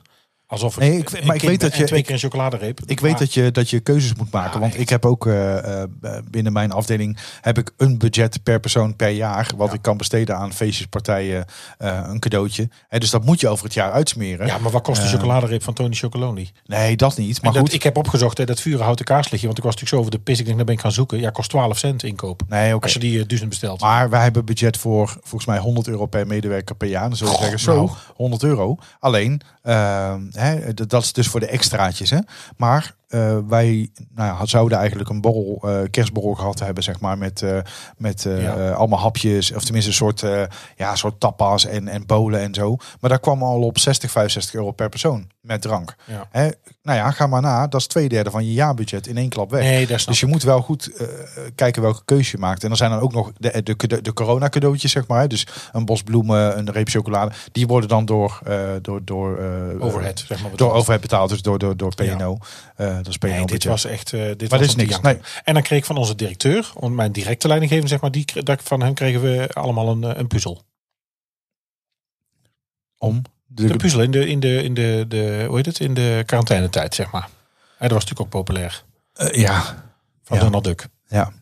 Alsof
Nee, ik-
een
maar ik
kind
weet
ben
dat
en
je-
twee
ik-
keer een chocoladereep.
Ik weet dat je, dat je keuzes moet maken.
Ja,
want
echt.
ik heb ook eh, eh, binnen mijn afdeling heb ik een budget per persoon per jaar. Wat ik kan besteden aan feestjes, partijen, eh, een cadeautje. Hè, dus dat moet je over het jaar uitsmeren.
Ja, maar wat kost de
Eh,
chocoladereep van Tony Chocoloni?
Nee, dat niet. Maar
En dat,
goed.
ik heb opgezocht hè, dat vurenhouten kaarslichtje, want ik was natuurlijk zo over de pis. Ik denk, dan ben ik gaan zoeken. Ja, kost 12 cent inkoop.
Nee, Nou, oké.
Als je die eh, duizend bestelt.
Maar wij hebben budget voor volgens mij 100 euro per medewerker per jaar. Dan zullen we
Goh,
zeggen, zo,
nou.
100 euro. Alleen, ehm, hè, d- dat is dus voor de extraatjes. Hè? Maar eh, wij nou ja, zouden eigenlijk een borrel, eh, kerstborrel gehad hebben, zeg maar, met, eh, met eh,
Ja.
eh, allemaal hapjes, of tenminste een soort, eh, ja, soort tapas en, en bolen en zo. Maar daar kwam al op 60, 65 euro per persoon met drank.
Ja.
Hè? Nou ja, ga maar na, dat is twee derde van je jaarbudget in één klap weg.
Nee, daar snap
Dus je moet wel goed eh, kijken welke keuze je maakt. En dan zijn dan ook nog de, eh, de, de, de corona cadeautjes, zeg maar. hè. Dus een bos bloemen, een reep chocolade. Die worden dan door... eh door, door eh,
Overhead, zeg maar.
Door
betaald.
overheid betaald, dus door, door, door PNO. Eh, dat is PNO
Nee, dit
budget.
was echt. eh, dit
Maar
was
dit is
om te
niks,
janken. En dan kreeg ik van onze directeur, want mijn directe leidinggevende, zeg maar, die, kre- dat- van hem kregen we allemaal een, eh, een puzzel.
om. De,
Een puzzel in de, in de, in de, de, hoe heet het? In de quarantainetijd, zeg maar. En dat was natuurlijk ook populair.
eh, ja,
Van
Ja.
Donald Duck.
ja.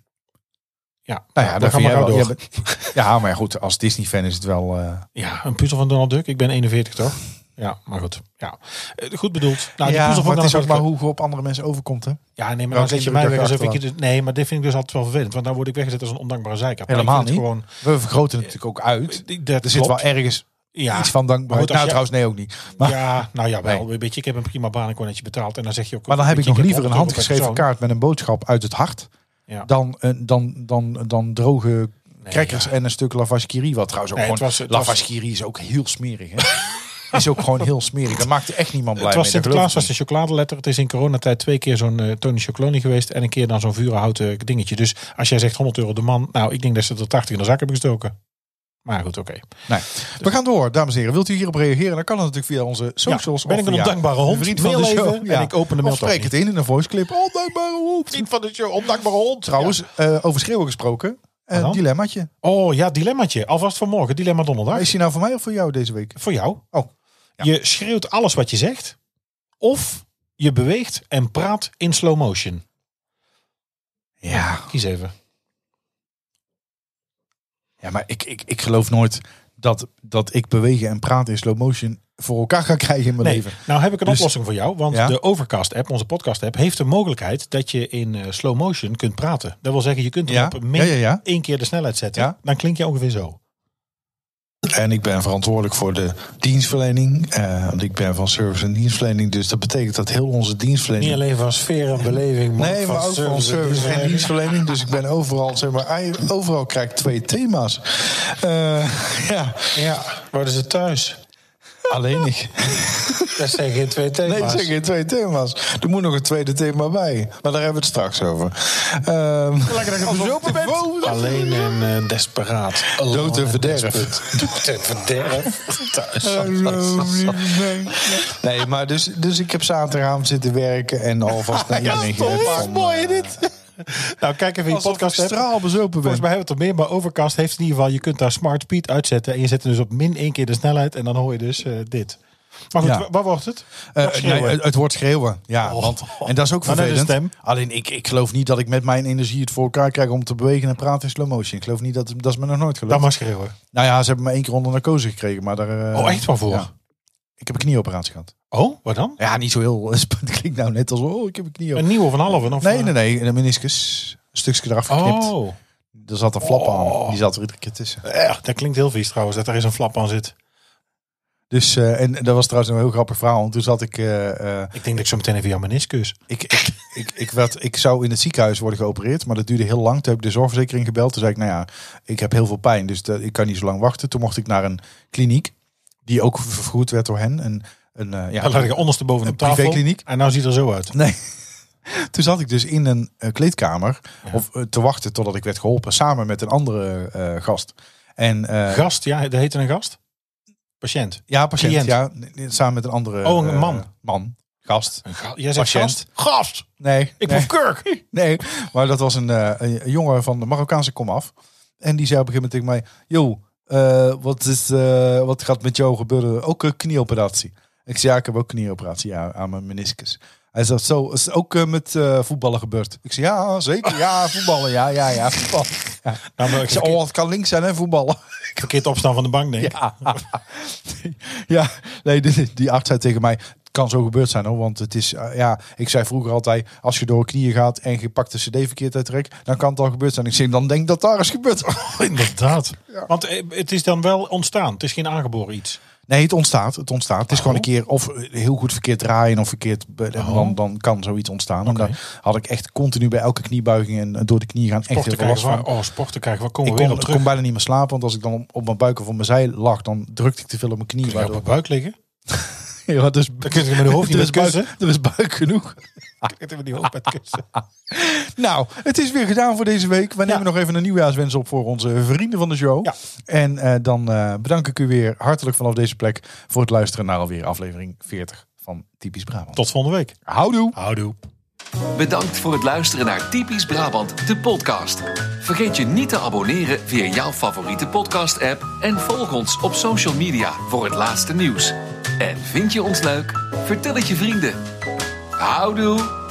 Ja,
Nou ja,
daar
daar
gaan
vind
we
jij
gauw
wel.
door.
jij bent- ja, maar goed, als Disney-fan is het wel... eh,
Ja, een puzzel van Donald Duck. Ik ben 41, toch? Ja, maar goed. Ja. Eh, Goed bedoeld. Nou, die puzzel
maar
van
het is ook
Donald
maar
Duck.
hoe je op andere mensen overkomt, hè?
Ja, nee, maar
Welke
dan zet je
indruk
mij
dat
weg
je
alsof ik...
achterlaat?
je- Nee, maar dit vind ik dus altijd wel vervelend. Want dan word ik weggezet als een ondankbare zeiker. Maar ik
Helemaal
vind het
niet.
Gewoon,
We vergroten het natuurlijk ook uit.
Die- dat
Er zit wel
klopt.
ergens
ja.
iets van dankbaarheid.
Maar
Nou,
goed, als
trouwens, nee, ook niet. Maar,
ja, nou ja, wel.
Nee.
Weet je, ik heb een prima baan, ik word netje betaald. En dan zeg je ook...
maar dan heb
weet
ik
je,
nog
heb
liever een
100 euro
handgeschreven
per persoon.
kaart met een boodschap uit het hart...
Ja.
dan, een- dan, dan, dan droge crackers
ja.
en een stuk lavash kiri. Wat trouwens ook
Nee, het
gewoon...
was- het
lavash
was-
kiri is ook heel smerig, hè? is ook gewoon heel smerig. Daar maakt echt niemand blij
Het was
mee. dat geloof
Sinterklaas,
ik
was de chocoladeletter. Het is in coronatijd twee keer zo'n eh, Tony Chocoloni geweest. En een keer dan zo'n vurenhouten dingetje. Dus als jij zegt 100 euro de man. Nou, ik denk dat ze er 80 in de zak hebben gestoken. Maar goed, oké.
Nee. We gaan door, dames en heren. Wilt u hierop reageren? Dan kan dat natuurlijk via onze socials.
ben ik
of
een
via
ondankbare hond?
Vriend van de
Mail even
show.
en ik open de mail
Of spreek
toch
het in in een voice clip. Ondankbare hond.
Vriend van de show, ondankbare hond.
Trouwens, eh, over schreeuwen gesproken.
Wat
Een
dan?
dilemmaatje.
Oh ja, dilemmaatje. Alvast voor morgen, dilemma donderdag.
Maar Is die nou voor mij of voor jou deze week?
Voor jou.
Oh. Ja.
Je schreeuwt alles wat je zegt. Of je beweegt en praat in slow motion.
Ja,
Kies even.
ja maar ik, ik, ik geloof nooit dat, dat ik bewegen en praten in slow motion voor elkaar ga krijgen in mijn
Nee,
leven.
nou heb ik een
Dus-
oplossing voor jou. Want
Ja?
de Overcast-app, onze podcast-app, heeft de mogelijkheid dat je in eh, slow motion kunt praten. Dat wil zeggen, je kunt hem
Ja?
op min
Ja, ja, ja.
één keer de snelheid zetten.
Ja?
Dan klink je ongeveer zo.
En ik ben verantwoordelijk voor de dienstverlening. eh, want ik ben van service en dienstverlening. Dus dat betekent dat heel onze dienstverlening...
Niet alleen van sfeer en beleving, maar,
Nee, maar ook van service en dienstverlening. Dus ik ben overal, zeg maar, ei- overal krijg ik twee thema's. Eh, ja,
Ja, worden ze thuis?
alleen ik.
Dat zijn geen twee thema's.
Nee, ik zeg geen twee thema's. Er moet nog een tweede thema bij. Maar daar hebben we het straks over. Ehm Lekker dat je open bent.
Alleen en eh, desperaat. Alone
Dood en
and
verderf.
desperate. Dood en verderf. Thuis.
Nee, maar dus, dus ik heb zaterdagavond zitten werken en alvast naar iedereen gered van, eh,
dit. Nou, kijk even in je
Alsof ik
podcast app.
straalbezopen ben.
Volgens mij hebben we het er meer, maar Overcast heeft in ieder geval... je kunt daar Smart Speed uitzetten en je zet hem dus op min één keer de snelheid... en dan hoor je dus eh, dit. Maar goed,
Ja.
wa- waar wordt het?
Eh,
Wat
nee,
schreeuwen?
het, het wordt schreeuwen. Ja,
Oh.
want, en dat is ook
Maar net een
vervelend.
stem.
Alleen ik, ik geloof niet dat ik met mijn energie het voor elkaar krijg om te bewegen en praten in slow motion. Ik geloof niet dat dat is me nog nooit gelukt.
Dan maar schreeuwen.
Nou ja, ze hebben me één keer onder narcose gekregen, maar daar. eh,
Oh, echt waarvoor?
ja. Ik heb een knieoperatie gehad.
Oh, wat dan?
Ja, niet zo heel. Het klinkt nou net als oh, ik heb een
Een
knieoperatie.
nieuwe van halve? Of, eh?
Nee, nee, nee, een meniscus. Een stukje eraf geknipt.
Oh,
Er zat een flap
Oh.
aan. Die zat er iedere keer tussen.
Eh, dat klinkt heel vies trouwens, dat er eens een flap aan zit.
Dus eh, en dat was trouwens een heel grappig verhaal. Want toen zat ik eh, eh,
Ik denk dat ik zo meteen even jouw meniscus.
Ik, ik, ik, ik, werd, ik zou in het ziekenhuis worden geopereerd, maar dat duurde heel lang. Toen heb ik de zorgverzekering gebeld. Toen zei ik, nou ja, ik heb heel veel pijn, dus dat, ik kan niet zo lang wachten. Toen mocht ik naar een kliniek, die ook ver- vergoed werd door hen. Een, een, eh,
Ja, laat
ja,
ik er ondersteboven op
Een
tafel.
privékliniek?
En nou ziet het er zo uit.
nee. Toen zat ik dus in een eh, kleedkamer of, eh, te wachten totdat ik werd geholpen, samen met een andere eh, gast. En, eh,
Gast, ja, dat heette een gast? Patiënt.
ja, patiënt,
Cliënt.
ja, n- n- samen met een andere
Oh, een
eh,
man.
man, gast.
Een ga- Jij zegt
Patiënt.
gast? Gast!
Nee,
Ik
nee.
proef kurk!
Nee, maar dat was een, eh, een jongen van de Marokkaanse komaf. En die zei op een gegeven moment tegen mij... Yo, eh, wat, is, eh, wat gaat met jou gebeuren? Ook een knieoperatie. Ik zei, ja, ik heb ook knieoperatie ja, aan mijn meniscus. Hij zei, zo, is het ook eh, met eh, voetballen gebeurd? Ik zei, ja, zeker. Ja, voetballen. Ja, ja, ja, voetballen. Ja.
Nou, maar
Ik zei, oh, het kan links zijn, hè, voetballen.
verkeerd opstaan van de bank, denk ik.
Ja, ja nee, die, die arts zei tegen mij... Het kan zo gebeurd zijn hoor, want het is, eh, ja, ik zei vroeger altijd, als je door je knieën gaat en je pakt de cd verkeerd uit de rek, dan kan het al gebeurd zijn. Ik zeg, dan denk dat daar is gebeurd.
Inderdaad. Want eh, het is dan wel ontstaan. Het is geen aangeboren iets.
Nee, het ontstaat. Het ontstaat. Het is gewoon
Oh.
een keer of heel goed verkeerd draaien of verkeerd. be- Dan, dan kan zoiets ontstaan. En dan had ik echt continu bij elke kniebuiging en eh, door de knie gaan echt heel
Sporten
veel last
krijgen
van.
we, oh, sporten krijgen we, komen
Ik
we weer
kon,
op terug.
kon bijna niet meer slapen, want als ik dan op, op mijn buik of op mijn zij lag, dan drukte ik te veel op mijn knie.
Kun je op
Waardoor,
mijn buik liggen?
ja, dus,
Dan kun je met je hoofd
er,
niet meer
is buik,
kussen.
er is buik genoeg.
Dan kun je met je hoofd met kussen.
Nou, het is weer gedaan voor deze week. We nemen nog even een nieuwjaarswens op voor onze vrienden van de show.
Ja.
En eh, dan eh, bedank ik u weer hartelijk vanaf deze plek voor het luisteren naar alweer aflevering 40 van Typisch Brabant.
Tot volgende week.
Houdoe!
Houdoe.
Bedankt voor het luisteren naar Typisch Brabant, de podcast. Vergeet je niet te abonneren via jouw favoriete podcast-app en volg ons op social media voor het laatste nieuws. En vind je ons leuk? Vertel het je vrienden. Houdoe!